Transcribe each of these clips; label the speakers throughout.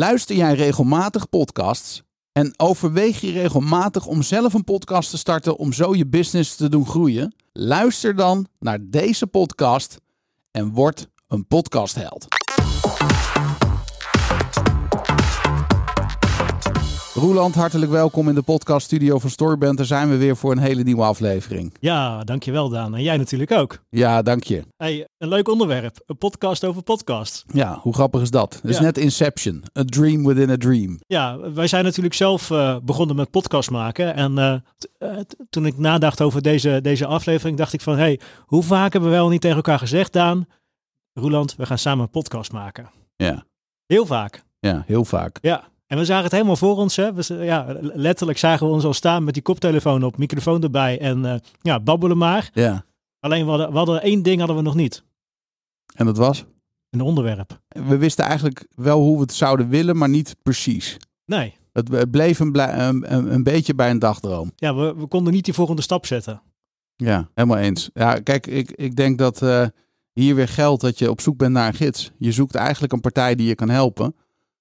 Speaker 1: Luister jij regelmatig podcasts en overweeg je regelmatig om zelf een podcast te starten om zo je business te doen groeien? Luister dan naar deze podcast en word een podcastheld. Roeland, hartelijk welkom in de podcaststudio van Storyband. Daar zijn we weer voor een hele nieuwe aflevering.
Speaker 2: Ja, dankjewel Daan. En jij natuurlijk ook.
Speaker 1: Ja, dank je.
Speaker 2: Hey, een leuk onderwerp. Een podcast over podcasts.
Speaker 1: Ja, hoe grappig is dat? Het is
Speaker 2: Ja.
Speaker 1: net Inception. A dream within a dream.
Speaker 2: Ja, wij zijn natuurlijk zelf eh, begonnen met podcast maken. En eh, t- eh, t- toen ik nadacht over deze, deze aflevering, dacht ik van... hey, hoe vaak hebben we wel niet tegen elkaar gezegd, Daan? Roeland, we gaan samen een podcast maken.
Speaker 1: Ja,
Speaker 2: Heel vaak.
Speaker 1: ja heel vaak.
Speaker 2: Ja. En we zagen het helemaal voor ons. Hè? We, z- ja, letterlijk zagen we ons al staan met die koptelefoon op, microfoon erbij en eh, ja, babbelen maar.
Speaker 1: Ja,
Speaker 2: Alleen we hadden, we hadden één ding hadden we nog niet.
Speaker 1: en dat was?
Speaker 2: Een onderwerp.
Speaker 1: We wisten eigenlijk wel hoe we het zouden willen, maar niet precies.
Speaker 2: Nee.
Speaker 1: Het het bleef een, blij- een, een, een beetje bij een dagdroom.
Speaker 2: ja, we, we konden niet die volgende stap zetten.
Speaker 1: Ja, helemaal eens. Ja, kijk, ik, ik denk dat eh, hier weer geldt dat je op zoek bent naar een gids. Je zoekt eigenlijk een partij die je kan helpen.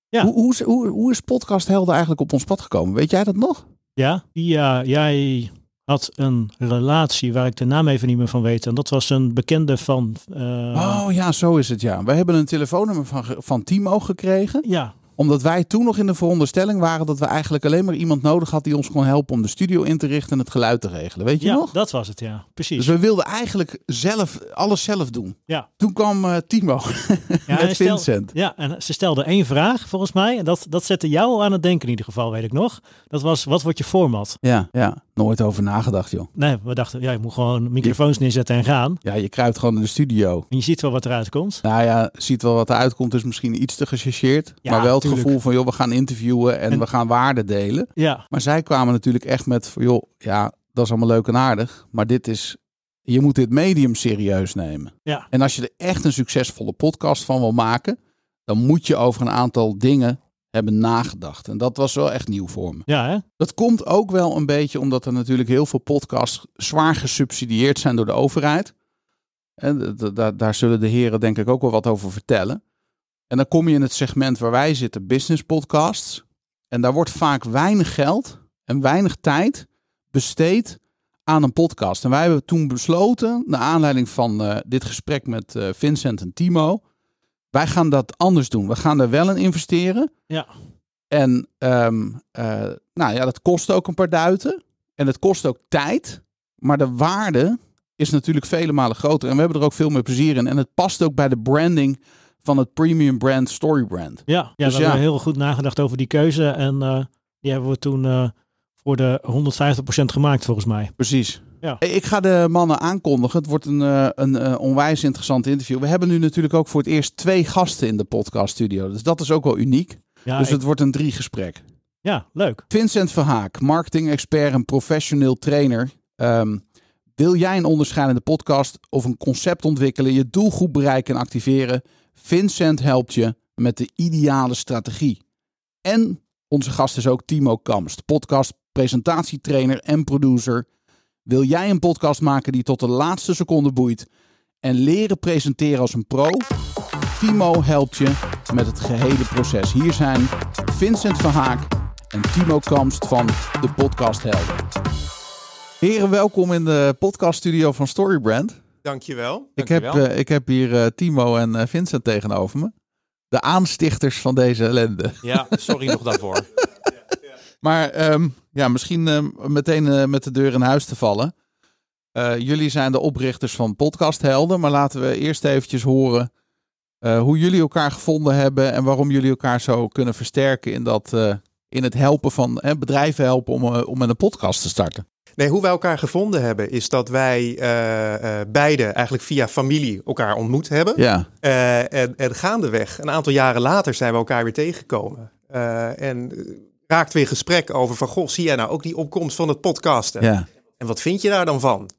Speaker 2: Ja.
Speaker 1: Hoe, hoe, is- hoe, hoe is Podcast Helden eigenlijk op ons pad gekomen? Weet jij dat nog?
Speaker 2: Ja, ja jij had een relatie waar ik de naam even niet meer van weet. En dat was een bekende van... eh,
Speaker 1: Oh ja, zo is het ja. Wij hebben een telefoonnummer van, ge- van Timo gekregen.
Speaker 2: Ja,
Speaker 1: Omdat wij toen nog in de veronderstelling waren dat we eigenlijk alleen maar iemand nodig hadden die ons kon helpen om de studio in te richten en het geluid te regelen. Weet je
Speaker 2: ja
Speaker 1: nog?
Speaker 2: dat was het, ja. Precies.
Speaker 1: Dus we wilden eigenlijk zelf alles zelf doen.
Speaker 2: Ja.
Speaker 1: Toen kwam eh, Timo
Speaker 2: ja,
Speaker 1: met
Speaker 2: en stel-
Speaker 1: Vincent.
Speaker 2: Ja, en ze stelde één vraag volgens mij. En dat, dat zette jou aan het denken in ieder geval, weet ik nog. Dat was, wat wordt je format?
Speaker 1: Ja, ja, nooit over nagedacht, joh.
Speaker 2: Nee, we dachten, ja, je moet gewoon microfoons neerzetten en gaan.
Speaker 1: Ja, je kruipt gewoon in de studio.
Speaker 2: En je ziet wel wat eruit komt.
Speaker 1: Nou ja, ziet wel wat eruit komt, is misschien iets te gechargeerd.
Speaker 2: Ja,
Speaker 1: maar wel het
Speaker 2: tuurlijk.
Speaker 1: gevoel van, joh, we gaan interviewen en,
Speaker 2: En-
Speaker 1: we gaan waarde delen.
Speaker 2: Ja,
Speaker 1: Maar zij kwamen natuurlijk echt met, van, joh, ja, dat is allemaal leuk en aardig. Maar dit is, je moet dit medium serieus nemen.
Speaker 2: Ja.
Speaker 1: En als je er echt een succesvolle podcast van wil maken, dan moet je over een aantal dingen hebben nagedacht. En dat was wel echt nieuw voor me.
Speaker 2: ja hè?
Speaker 1: Dat komt ook wel een beetje omdat er natuurlijk heel veel podcasts zwaar gesubsidieerd zijn door de overheid. En d- d- daar- daar zullen de heren denk ik ook wel wat over vertellen. En dan kom je in het segment waar wij zitten, business podcasts. En daar wordt vaak weinig geld en weinig tijd besteed aan een podcast. En wij hebben toen besloten, naar aanleiding van eh, dit gesprek met eh, Vincent en Timo, wij gaan dat anders doen. We gaan er wel in investeren.
Speaker 2: Ja.
Speaker 1: En ehm, eh, nou ja, dat kost ook een paar duiten. En het kost ook tijd. Maar de waarde is natuurlijk vele malen groter. En we hebben er ook veel meer plezier in. En het past ook bij de branding van het premium brand Storybrand.
Speaker 2: Ja, ja
Speaker 1: Dus
Speaker 2: we
Speaker 1: ja.
Speaker 2: hebben heel goed nagedacht over die keuze. En eh, die hebben we toen eh, voor de 150% gemaakt, volgens mij.
Speaker 1: Precies.
Speaker 2: Ja.
Speaker 1: Hey, Ik ga de mannen aankondigen. Het wordt een, eh, een eh, onwijs interessant interview. We hebben nu natuurlijk ook voor het eerst twee gasten in de podcaststudio. Dus dat is ook wel uniek.
Speaker 2: Ja,
Speaker 1: dus
Speaker 2: ik-
Speaker 1: het wordt een drie gesprek.
Speaker 2: ja leuk.
Speaker 1: Vincent Verhaak, marketing-expert en professioneel trainer. Ehm, wil jij een onderscheidende podcast of een concept ontwikkelen, je doelgroep bereiken en activeren? Vincent helpt je met de ideale strategie. En onze gast is ook Timo Kamst, podcast, presentatietrainer en producer. Wil jij een podcast maken die tot de laatste seconde boeit en leren presenteren als een pro? Timo helpt je met het gehele proces. Hier zijn Vincent van Haak en Timo Kamst van de Podcast Helden. Heren, welkom in de podcaststudio van Storybrand.
Speaker 3: Dankjewel.
Speaker 1: Ik heb,
Speaker 3: Dankjewel.
Speaker 1: eh, ik heb hier eh, Timo en eh, Vincent tegenover me. De aanstichters van deze ellende.
Speaker 3: Ja, sorry nog daarvoor.
Speaker 1: Maar ehm, ja, misschien ehm, meteen eh, met de deur in huis te vallen. Eh, jullie zijn de oprichters van Podcast Helden, maar laten we eerst eventjes horen eh, hoe jullie elkaar gevonden hebben en waarom jullie elkaar zo kunnen versterken in, dat, eh, in het helpen van eh, bedrijven helpen om, eh, om met een podcast te starten.
Speaker 3: Nee, hoe wij elkaar gevonden hebben is dat wij eh, eh, beide eigenlijk via familie elkaar ontmoet hebben.
Speaker 1: Ja,
Speaker 3: Eh, en, en gaandeweg, een aantal jaren later, zijn we elkaar weer tegengekomen. Eh, en eh, raakt weer gesprek over van, goh, zie jij nou ook die opkomst van het podcasten?
Speaker 1: ja,
Speaker 3: En wat vind je daar dan van?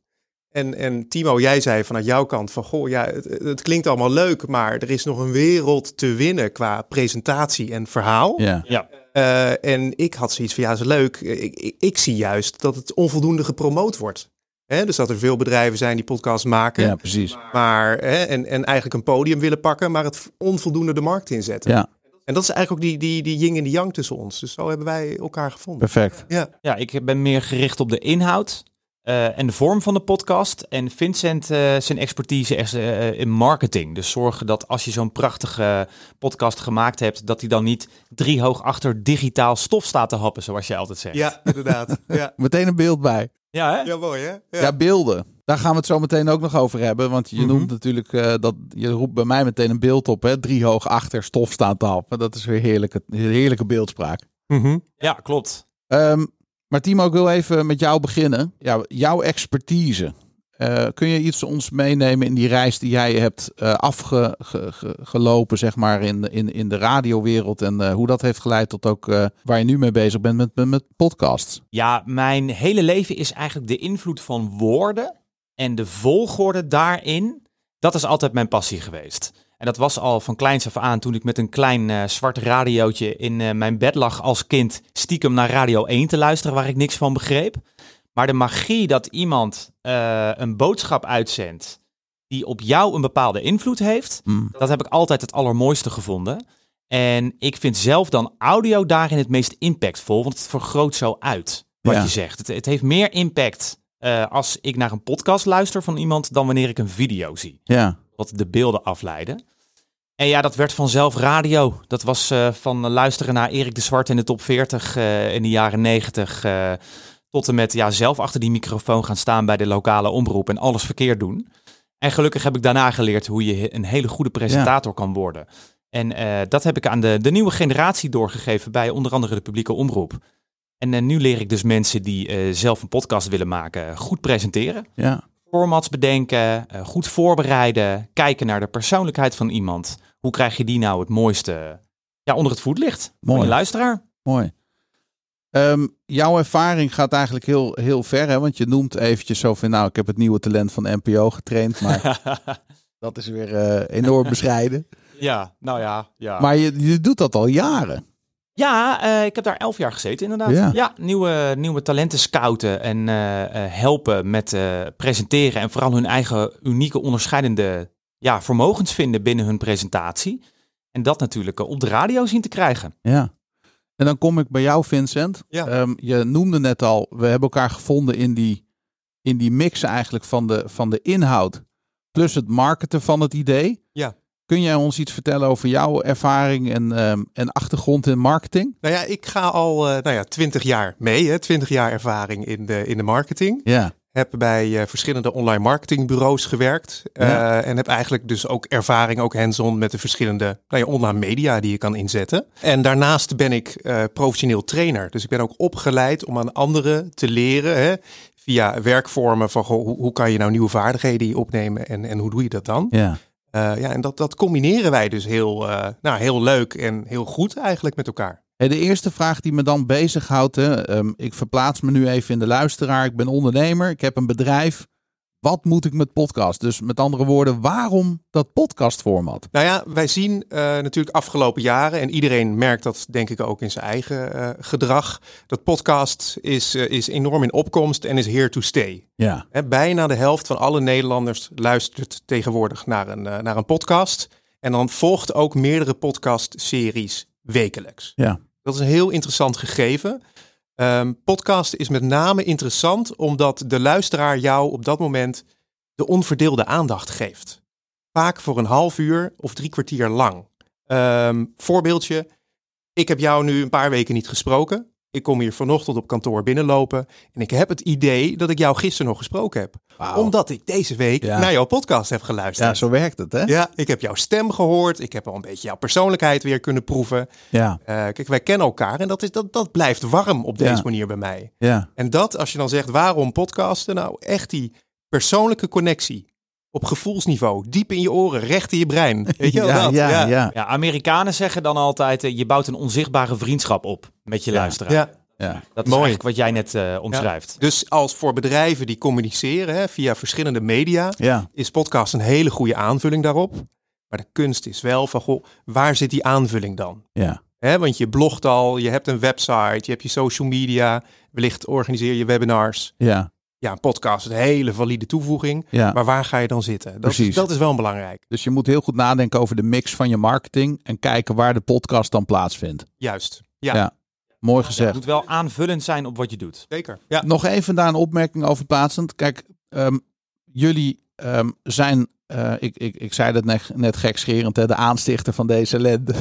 Speaker 3: En, en Timo, jij zei vanuit jouw kant van, goh, ja, het, het klinkt allemaal leuk, maar er is nog een wereld te winnen qua presentatie en verhaal.
Speaker 1: ja,
Speaker 3: Eh, en ik had zoiets van, ja, is leuk. Eh, Ik, ik, ik zie juist dat het onvoldoende gepromoot wordt. Hè, dus dat er veel bedrijven zijn die podcasts maken,
Speaker 1: ja, precies.
Speaker 3: maar, hè, en, en eigenlijk een podium willen pakken, maar het onvoldoende de markt inzetten.
Speaker 1: Ja.
Speaker 3: En dat is eigenlijk ook die, die, die yin en die yang tussen ons. Dus zo hebben wij elkaar gevonden.
Speaker 1: Perfect.
Speaker 3: Ja,
Speaker 4: Ja, ik ben meer gericht op de inhoud eh, en de vorm van de podcast. En Vincent, eh, zijn expertise is eh, in marketing. Dus zorgen dat als je zo'n prachtige podcast gemaakt hebt, dat hij dan niet driehoog achter digitaal stof staat te happen, zoals je altijd zegt.
Speaker 3: ja inderdaad. Ja.
Speaker 1: Meteen een beeld bij.
Speaker 4: ja hè?
Speaker 3: ja, mooi hè? Ja.
Speaker 1: Ja, beelden. Daar gaan we het zo meteen ook nog over hebben. Want je
Speaker 4: Mhm.
Speaker 1: noemt natuurlijk eh, dat. Je roept bij mij meteen een beeld op, hè? Drie hoog achter stof staat te happen. Dat is weer heerlijke, heerlijke beeldspraak.
Speaker 3: Mhm.
Speaker 4: ja klopt.
Speaker 1: Ehm, maar Timo, ik wil even met jou beginnen. Ja, jouw expertise. Eh, kun je iets ons meenemen in die reis die jij hebt eh, afgelopen, zeg maar, in, de- in, in de radiowereld? En eh, hoe dat heeft geleid tot ook eh, waar je nu mee bezig bent met, met, met podcasts?
Speaker 4: Ja, mijn hele leven is eigenlijk de invloed van woorden en de volgorde daarin. Dat is altijd mijn passie geweest. En dat was al van kleins af aan toen ik met een klein eh, zwart radiootje in eh, mijn bed lag als kind stiekem naar Radio 1 te luisteren waar ik niks van begreep. Maar de magie dat iemand eh, een boodschap uitzendt die op jou een bepaalde invloed heeft,
Speaker 1: Hm.
Speaker 4: Ehm, dat heb ik altijd het allermooiste gevonden. En ik vind zelf dan audio daarin het meest impactvol, want het vergroot zo uit wat
Speaker 1: Ja.
Speaker 4: je zegt. Het, het heeft meer impact eh, als ik naar een podcast luister van iemand dan wanneer ik een video zie.
Speaker 1: Ja,
Speaker 4: Wat de beelden afleiden. En ja, dat werd vanzelf radio. Dat was eh, van luisteren naar Erik de Zwart in de top 40 eh, in de jaren 90. eh, tot en met ja, zelf achter die microfoon gaan staan bij de lokale omroep en alles verkeerd doen. En gelukkig heb ik daarna geleerd hoe je een hele goede presentator kan worden. En eh, dat heb ik aan de, de nieuwe generatie doorgegeven bij onder andere de publieke omroep. En eh, nu leer ik dus mensen die eh, zelf een podcast willen maken goed presenteren
Speaker 1: ja.
Speaker 4: formats bedenken, eh, goed voorbereiden, kijken naar de persoonlijkheid van iemand. Hoe krijg je die nou het mooiste ja, onder het voetlicht van
Speaker 1: Mooi.
Speaker 4: je luisteraar?
Speaker 1: Mooi. Ehm, jouw ervaring gaat eigenlijk heel, heel ver, hè? want je noemt eventjes zo van, nou, ik heb het nieuwe talent van NPO getraind, maar dat is weer eh, enorm bescheiden.
Speaker 4: ja, nou ja. Ja,
Speaker 1: Maar je, je doet dat al jaren.
Speaker 4: ja eh, ik heb daar elf jaar gezeten inderdaad.
Speaker 1: Ja.
Speaker 4: Ja, nieuwe, nieuwe talenten scouten en eh, eh, helpen met eh, presenteren. En vooral hun eigen unieke onderscheidende ja, vermogens vinden binnen hun presentatie. En dat natuurlijk eh, op de radio zien te krijgen.
Speaker 1: Ja. En dan kom ik bij jou, Vincent.
Speaker 3: Ja.
Speaker 1: Ehm, je noemde net al, we hebben elkaar gevonden in die, in die mix eigenlijk van de, van de inhoud. Plus het marketen van het idee.
Speaker 3: Ja.
Speaker 1: Kun jij ons iets vertellen over jouw ervaring en, ehm, en achtergrond in marketing?
Speaker 3: Nou ja, ik ga al eh nou ja, 20 jaar mee, hè, 20 jaar ervaring in de, in de marketing.
Speaker 1: Ja.
Speaker 3: Heb bij eh, verschillende online marketingbureaus gewerkt. eh,
Speaker 1: Ja.
Speaker 3: en heb eigenlijk dus ook ervaring, ook hands-on met de verschillende nou ja, online media die je kan inzetten. En daarnaast ben ik eh, professioneel trainer. Dus ik ben ook opgeleid om aan anderen te leren. Hè, via werkvormen van goh, hoe, hoe kan je nou nieuwe vaardigheden opnemen en, en hoe doe je dat dan?
Speaker 1: Ja.
Speaker 3: Eh, ja, en dat, dat combineren wij dus heel, eh, nou, heel leuk en heel goed eigenlijk met elkaar.
Speaker 1: Hey, de eerste vraag die me dan bezighoudt, hè, ehm, ik verplaats me nu even in de luisteraar. Ik ben ondernemer, ik heb een bedrijf. Wat moet ik met podcast? Dus met andere woorden, waarom dat podcastformat?
Speaker 3: Nou ja, wij zien eh, natuurlijk afgelopen jaren, en iedereen merkt dat denk ik ook in zijn eigen eh, gedrag, dat podcast is, eh, is enorm in opkomst en is here to stay.
Speaker 1: Ja.
Speaker 3: Hè, bijna de helft van alle Nederlanders luistert tegenwoordig naar een, eh, naar een podcast. En dan volgt ook meerdere podcastseries wekelijks.
Speaker 1: Ja.
Speaker 3: Dat is een heel interessant gegeven. Ehm, podcast is met name interessant omdat de luisteraar jou op dat moment de onverdeelde aandacht geeft. Vaak voor een half uur of drie kwartier lang. Ehm, voorbeeldje, ik heb jou nu een paar weken niet gesproken. Ik kom hier vanochtend op kantoor binnenlopen en ik heb het idee dat ik jou gisteren nog gesproken heb. Omdat ik deze week
Speaker 1: Ja.
Speaker 3: naar jouw podcast heb
Speaker 1: Ja,
Speaker 3: geluisterd.
Speaker 1: zo werkt het, hè?
Speaker 3: ja, ik heb jouw stem gehoord. Ik heb al een beetje jouw persoonlijkheid weer kunnen proeven.
Speaker 1: Ja,
Speaker 3: Eh, kijk, wij kennen elkaar en dat, is, dat, dat blijft warm op deze
Speaker 1: Ja.
Speaker 3: manier bij mij.
Speaker 1: ja,
Speaker 3: En dat, als je dan zegt waarom podcasten, nou echt die persoonlijke connectie op gevoelsniveau, diep in je oren, recht in je brein. Weet je wel
Speaker 1: ja,
Speaker 3: dat?
Speaker 1: ja, ja,
Speaker 3: ja.
Speaker 1: ja,
Speaker 4: Ja, Amerikanen zeggen dan altijd, eh, je bouwt een onzichtbare vriendschap op met je
Speaker 1: Ja.
Speaker 4: luisteraar. Dat is
Speaker 3: Mooi.
Speaker 4: eigenlijk wat jij net eh, omschrijft.
Speaker 3: Dus als voor bedrijven die communiceren hè, via verschillende media,
Speaker 1: ja,
Speaker 3: is podcast een hele goede aanvulling daarop. Maar de kunst is wel van, goh, waar zit die aanvulling dan?
Speaker 1: ja.
Speaker 3: Hè, want je blogt al, je hebt een website, je hebt je social media, wellicht organiseer je webinars.
Speaker 1: ja.
Speaker 3: ja, een podcast, een hele valide toevoeging.
Speaker 1: Ja.
Speaker 3: Maar waar ga je dan zitten? Dat,
Speaker 1: Precies.
Speaker 3: is- dat is wel belangrijk.
Speaker 1: Dus je moet heel goed nadenken over de mix van je marketing en kijken waar de podcast dan plaatsvindt.
Speaker 3: Juist. Ja,
Speaker 1: Ja. Mooi
Speaker 4: Het
Speaker 1: gezegd.
Speaker 4: moet wel aanvullend zijn op wat je doet.
Speaker 3: zeker. Ja.
Speaker 1: Nog even daar een opmerking over plaatsend. Kijk, ehm, jullie ehm, zijn, eh, ik, ik, ik zei dat net, net gekscherend, hè, de aanstichter van deze ellende.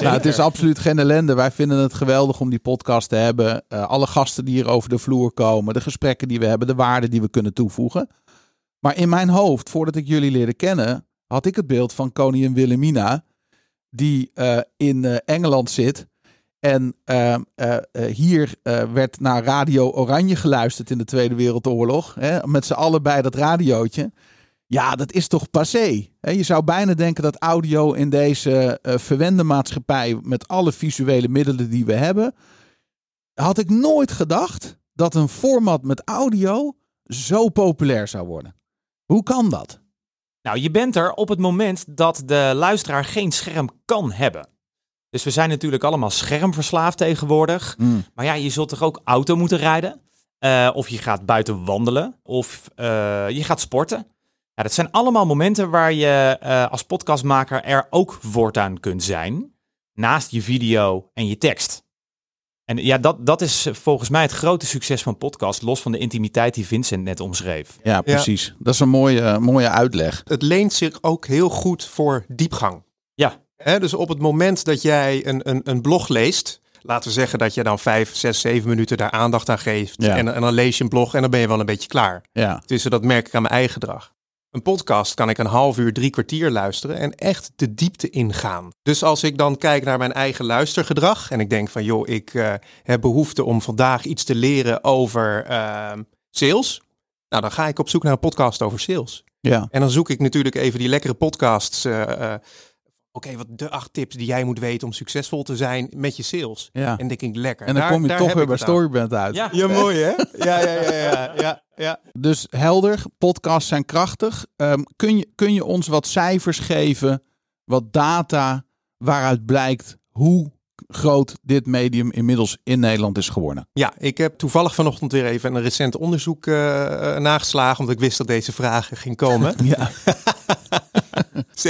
Speaker 1: nou, het is absoluut geen ellende. Wij vinden het geweldig om die podcast te hebben. Eh, alle gasten die hier over de vloer komen, de gesprekken die we hebben, de waarden die we kunnen toevoegen. Maar in mijn hoofd, voordat ik jullie leerde kennen, had ik het beeld van koningin Wilhelmina, die eh, in eh, Engeland zit en eh, eh, eh, hier eh, werd naar Radio Oranje geluisterd in de Tweede Wereldoorlog. Hè, met z'n allen bij dat radiootje. Ja, dat is toch passé. Hè, je zou bijna denken dat audio in deze eh verwende maatschappij... met alle visuele middelen die we hebben... had ik nooit gedacht dat een format met audio zo populair zou worden. Hoe kan dat?
Speaker 4: Nou, je bent er op het moment dat de luisteraar geen scherm kan hebben. Dus we zijn natuurlijk allemaal schermverslaafd tegenwoordig. Maar ja, je zult toch ook auto moeten rijden? Eh, of je gaat buiten wandelen. Of eh, je gaat sporten. Ja, dat zijn allemaal momenten waar je eh, als podcastmaker er ook voortaan kunt zijn. Naast je video en je tekst. En ja, dat, dat is volgens mij het grote succes van podcast. Los van de intimiteit die Vincent net omschreef.
Speaker 1: Ja, precies. Dat is een mooie, mooie uitleg.
Speaker 3: Het leent zich ook heel goed voor diepgang.
Speaker 4: Ja.
Speaker 3: Hè, dus op het moment dat jij een, een, een blog leest, laten we zeggen dat je dan vijf, zes, zeven minuten daar aandacht aan geeft.
Speaker 1: Ja.
Speaker 3: En, en dan lees je een blog en dan ben je wel een beetje klaar.
Speaker 1: Ja,
Speaker 3: Tussen dat merk ik aan mijn eigen gedrag. Een podcast kan ik een half uur, drie kwartier luisteren en echt de diepte ingaan. Dus als ik dan kijk naar mijn eigen luistergedrag en ik denk van joh, ik eh, heb behoefte om vandaag iets te leren over ehm, sales. Nou, dan ga ik op zoek naar een podcast over sales.
Speaker 1: ja.
Speaker 3: En dan zoek ik natuurlijk even die lekkere podcasts. eh, eh, Oké, wat de acht tips die jij moet weten om succesvol te zijn met je sales.
Speaker 1: ja.
Speaker 3: En denk ik lekker.
Speaker 1: En dan
Speaker 3: Daar-
Speaker 1: kom je
Speaker 3: daar
Speaker 1: toch
Speaker 3: heb
Speaker 1: weer
Speaker 3: ik
Speaker 1: bij
Speaker 3: het aan.
Speaker 1: Storyband uit.
Speaker 4: Ja.
Speaker 3: Ja, mooi hè? Ja, ja, ja, ja, ja, ja.
Speaker 1: Dus helder, podcasts zijn krachtig. Ehm, kun, je, kun je ons wat cijfers geven, wat data waaruit blijkt hoe groot dit medium inmiddels in Nederland is geworden?
Speaker 3: Ja, ik heb toevallig vanochtend weer even een recent onderzoek eh, eh, nageslagen, omdat ik wist dat deze vragen ging komen.
Speaker 1: Ja,
Speaker 3: 47%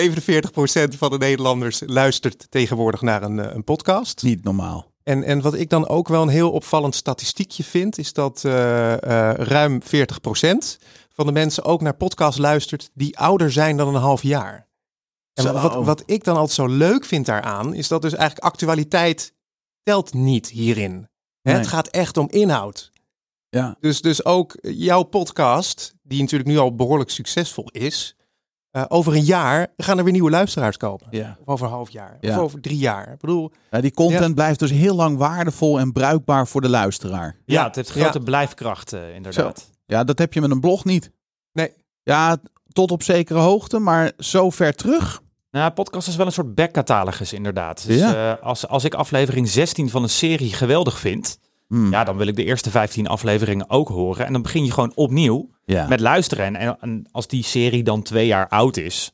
Speaker 3: van de Nederlanders luistert tegenwoordig naar een, eh, een podcast.
Speaker 1: niet normaal.
Speaker 3: En, en wat ik dan ook wel een heel opvallend statistiekje vind, is dat eh, eh, ruim 40% van de mensen ook naar podcasts luistert die ouder zijn dan een half jaar. En
Speaker 1: Zo.
Speaker 3: wat- wat, wat ik dan altijd zo leuk vind daaraan, is dat dus eigenlijk actualiteit telt niet hierin. Hè,
Speaker 1: Nee.
Speaker 3: Het gaat echt om inhoud.
Speaker 1: Ja.
Speaker 3: Dus, dus ook jouw podcast, die natuurlijk nu al behoorlijk succesvol is, eh, over een jaar gaan er weer nieuwe luisteraars komen.
Speaker 1: Ja.
Speaker 3: Of over een half jaar.
Speaker 1: Ja.
Speaker 3: Of over drie jaar. Ik bedoel,
Speaker 1: die content
Speaker 3: Ja.
Speaker 1: blijft dus heel lang waardevol en bruikbaar voor de luisteraar.
Speaker 4: Ja,
Speaker 3: Ja,
Speaker 4: het heeft grote
Speaker 3: ja.
Speaker 4: blijfkracht eh, inderdaad.
Speaker 1: Ja, dat heb je met een blog niet.
Speaker 3: Nee.
Speaker 1: Ja, tot op zekere hoogte, maar zo ver terug.
Speaker 4: Nou, podcast is wel een soort backcatalogus inderdaad. Dus
Speaker 1: Ja.
Speaker 4: eh, als, als ik aflevering 16 van een serie geweldig vind,
Speaker 1: Hmm.
Speaker 4: ja, dan wil ik de eerste 15 afleveringen ook horen. En dan begin je gewoon opnieuw
Speaker 1: Ja.
Speaker 4: met luisteren. En, en, en als die serie dan twee jaar oud is,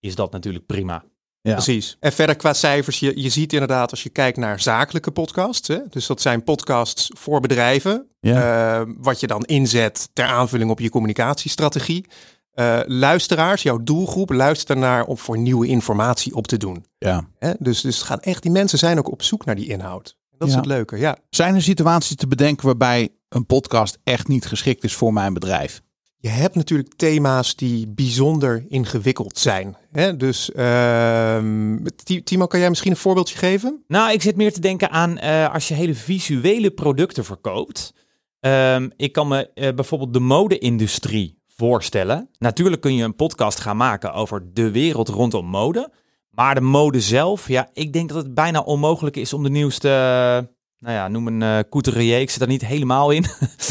Speaker 4: is dat natuurlijk prima.
Speaker 1: Ja.
Speaker 3: Precies. En verder qua cijfers, je, je ziet inderdaad als je kijkt naar zakelijke podcasts. Hè, dus dat zijn podcasts voor bedrijven.
Speaker 1: Ja.
Speaker 3: eh, wat je dan inzet ter aanvulling op je communicatiestrategie. Eh, luisteraars, jouw doelgroep, luistert naar om voor nieuwe informatie op te doen.
Speaker 1: ja.
Speaker 3: Hè? Dus, dus het gaan echt, die mensen zijn ook op zoek naar die inhoud. Dat is
Speaker 1: Ja.
Speaker 3: het leuke, ja.
Speaker 1: Zijn er situaties te bedenken waarbij een podcast echt niet geschikt is voor mijn bedrijf?
Speaker 3: Je hebt natuurlijk thema's die bijzonder ingewikkeld zijn. Hè? Dus ehm, Ti- Timo, kan jij misschien een voorbeeldje geven?
Speaker 4: Nou, ik zit meer te denken aan eh, als je hele visuele producten verkoopt. Ehm, ik kan me eh, bijvoorbeeld de mode-industrie voorstellen. Natuurlijk kun je een podcast gaan maken over de wereld rondom mode. Maar de mode zelf, ja, ik denk dat het bijna onmogelijk is om de nieuwste, eh, nou ja, noem een eh couturier. Ik zit daar niet helemaal in.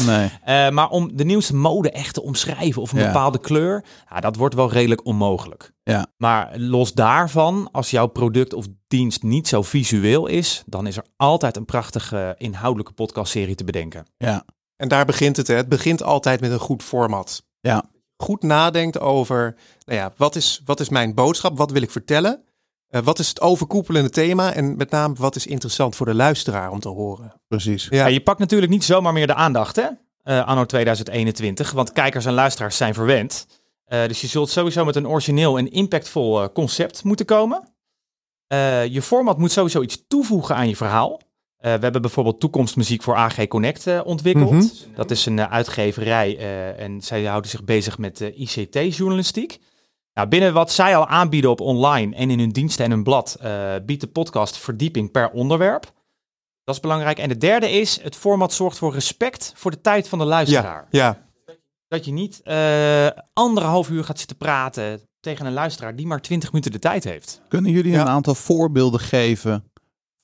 Speaker 1: Nee.
Speaker 4: Eh, maar om de nieuwste mode echt te omschrijven of een
Speaker 1: Ja.
Speaker 4: bepaalde kleur, ja, dat wordt wel redelijk onmogelijk.
Speaker 1: Ja.
Speaker 4: Maar los daarvan, als jouw product of dienst niet zo visueel is, dan is er altijd een prachtige inhoudelijke podcastserie te bedenken.
Speaker 3: En daar begint het. Hè. Het begint altijd met een goed format.
Speaker 1: Ja.
Speaker 3: Goed nadenkt over, nou ja, wat is, wat is mijn boodschap? Wat wil ik vertellen? Eh, wat is het overkoepelende thema? En met name, wat is interessant voor de luisteraar om te horen?
Speaker 1: Precies.
Speaker 3: Ja.
Speaker 4: Ja, je pakt natuurlijk niet zomaar meer de aandacht, hè? eh, anno 2021. Want kijkers en luisteraars zijn verwend. Eh, dus je zult sowieso met een origineel en impactvol eh, concept moeten komen. Eh, je format moet sowieso iets toevoegen aan je verhaal. Eh, we hebben bijvoorbeeld toekomstmuziek voor AG Connect eh, ontwikkeld. Dat is een eh, uitgeverij eh, en zij houden zich bezig met eh, ICT-journalistiek. Nou, binnen wat zij al aanbieden op online en in hun diensten en hun blad, eh, biedt de podcast verdieping per onderwerp. Dat is belangrijk. En de derde is, het format zorgt voor respect voor de tijd van de luisteraar.
Speaker 3: Ja, ja,
Speaker 4: Dat je niet eh, anderhalf uur gaat zitten praten tegen een luisteraar die maar twintig minuten de tijd heeft.
Speaker 1: Kunnen jullie
Speaker 3: Ja.
Speaker 1: een aantal voorbeelden geven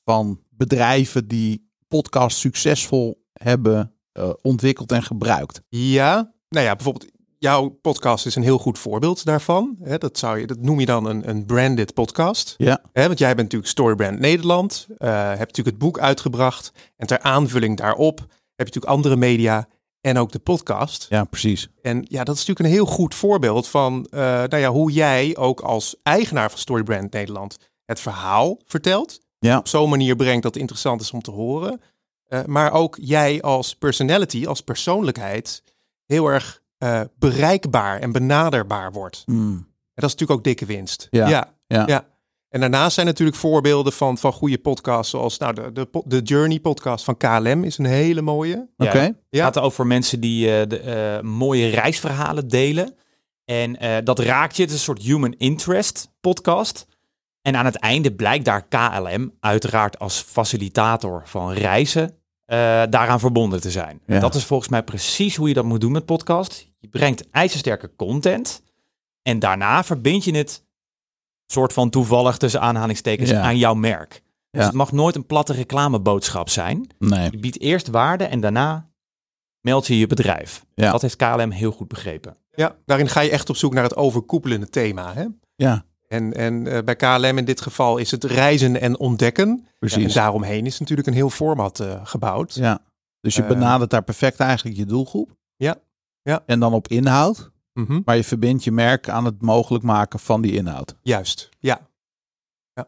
Speaker 1: van bedrijven die podcasts succesvol hebben eh, ontwikkeld en gebruikt?
Speaker 3: ja. Nou ja, bijvoorbeeld jouw podcast is een heel goed voorbeeld daarvan. Hè, dat, zou je, dat noem je dan een, een branded podcast.
Speaker 1: Ja.
Speaker 3: Hè, want jij bent natuurlijk Storybrand Nederland, eh, hebt natuurlijk het boek uitgebracht. En ter aanvulling daarop heb je natuurlijk andere media en ook de podcast.
Speaker 1: Ja, precies.
Speaker 3: En ja, dat is natuurlijk een heel goed voorbeeld van eh, nou ja, hoe jij ook als eigenaar van Storybrand Nederland het verhaal vertelt.
Speaker 1: Ja.
Speaker 3: Op zo'n manier brengt dat het interessant is om te horen. Eh, maar ook jij als personality, als persoonlijkheid, heel erg eh, bereikbaar en benaderbaar wordt.
Speaker 1: Mm.
Speaker 3: En dat is natuurlijk ook dikke winst.
Speaker 1: Ja,
Speaker 3: ja.
Speaker 1: ja.
Speaker 3: En daarnaast zijn natuurlijk voorbeelden van, van goede podcasts, zoals nou, de, de, po- de Journey podcast van KLM is een hele mooie.
Speaker 4: Ja.
Speaker 1: Oké.
Speaker 3: Ja.
Speaker 4: Het gaat over mensen die eh, de, eh, mooie reisverhalen delen. En eh, dat raakt je. Het is een soort human interest podcast. En aan het einde blijkt daar KLM uiteraard als facilitator van reizen eh, daaraan verbonden te zijn.
Speaker 1: Ja.
Speaker 4: Dat is volgens mij precies hoe je dat moet doen met podcast. Je brengt ijzersterke content. En daarna verbind je het soort van toevallig tussen aanhalingstekens
Speaker 1: Ja.
Speaker 4: aan jouw merk. Dus
Speaker 1: Ja.
Speaker 4: het mag nooit een platte reclameboodschap zijn.
Speaker 1: Nee.
Speaker 4: Je biedt eerst waarde en daarna meld je je bedrijf.
Speaker 1: Ja.
Speaker 4: Dat heeft KLM heel goed begrepen.
Speaker 3: Ja, daarin ga je echt op zoek naar het overkoepelende thema. Hè?
Speaker 1: Ja,
Speaker 3: En, en eh, bij KLM in dit geval is het reizen en ontdekken. En
Speaker 1: precies. Ja.
Speaker 3: daaromheen is natuurlijk een heel format eh, gebouwd.
Speaker 1: Dus je
Speaker 3: Eh.
Speaker 1: benadert daar perfect eigenlijk je doelgroep.
Speaker 3: Ja. Ja.
Speaker 1: En dan op inhoud,
Speaker 3: Mhm.
Speaker 1: maar je verbindt je merk aan het mogelijk maken van die inhoud.
Speaker 3: Juist, ja.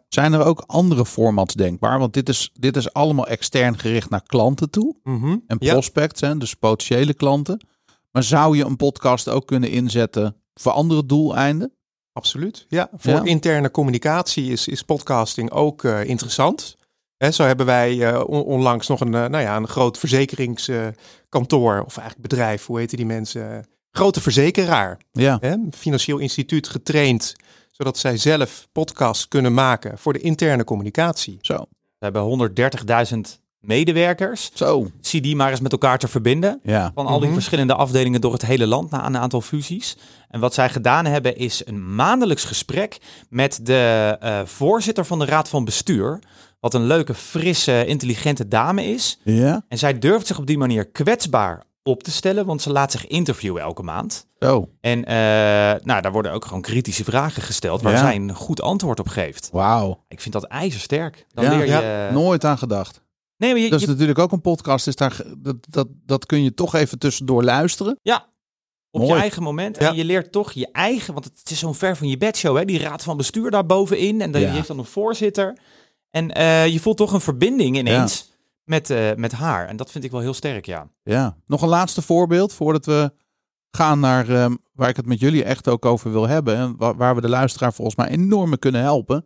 Speaker 1: Zijn er ook andere formats denkbaar? Want dit is, dit is allemaal extern gericht naar klanten toe.
Speaker 3: Mhm.
Speaker 1: en
Speaker 3: ja.
Speaker 1: prospects, hè, dus potentiële klanten. Maar zou je een podcast ook kunnen inzetten voor andere doeleinden?
Speaker 3: Absoluut. Ja, voor
Speaker 1: Ja.
Speaker 3: interne communicatie is, is podcasting ook eh, interessant. Hè, zo hebben wij eh, on- onlangs nog een, eh, nou ja, een groot verzekeringskantoor, of eigenlijk bedrijf, hoe heten die mensen? Grote verzekeraar.
Speaker 1: Ja,
Speaker 3: hè, een financieel instituut getraind, zodat zij zelf podcasts kunnen maken voor de interne communicatie.
Speaker 1: zo.
Speaker 4: We hebben 130.000 medewerkers.
Speaker 1: Zo.
Speaker 4: Zie die maar eens met elkaar te verbinden.
Speaker 1: Ja,
Speaker 4: Van al die
Speaker 3: Mhm.
Speaker 4: verschillende afdelingen door het hele land na een aantal fusies. En wat zij gedaan hebben is een maandelijks gesprek met de eh, voorzitter van de Raad van Bestuur. Wat een leuke, frisse, intelligente dame is.
Speaker 1: ja.
Speaker 4: En zij durft zich op die manier kwetsbaar op te stellen, want ze laat zich interviewen elke maand.
Speaker 1: Zo.
Speaker 4: En eh, nou, daar worden ook gewoon kritische vragen gesteld waar
Speaker 1: Ja.
Speaker 4: zij een goed antwoord op geeft.
Speaker 1: Wauw.
Speaker 4: Ik vind dat ijzersterk. Dan
Speaker 1: Ja,
Speaker 4: leer je...
Speaker 1: Nooit aan gedacht.
Speaker 4: Nee, maar je,
Speaker 1: Dat is
Speaker 4: je-
Speaker 1: natuurlijk ook een podcast. Is daar, ge- dat, dat, dat kun je toch even tussendoor luisteren.
Speaker 4: op
Speaker 1: mooi.
Speaker 4: je eigen moment.
Speaker 3: Ja.
Speaker 4: En je leert toch je eigen... Want het is zo'n ver van je bedshow, hè. Die raad van bestuur daar bovenin. En dan,
Speaker 1: Ja.
Speaker 4: die heeft dan een voorzitter. En eh, je voelt toch een verbinding ineens met, eh, met haar. En dat vind ik wel heel sterk, ja.
Speaker 1: Ja. Nog een laatste voorbeeld voordat we gaan naar ehm, waar ik het met jullie echt ook over wil hebben. En wa- waar we de luisteraar volgens mij enorm mee kunnen helpen.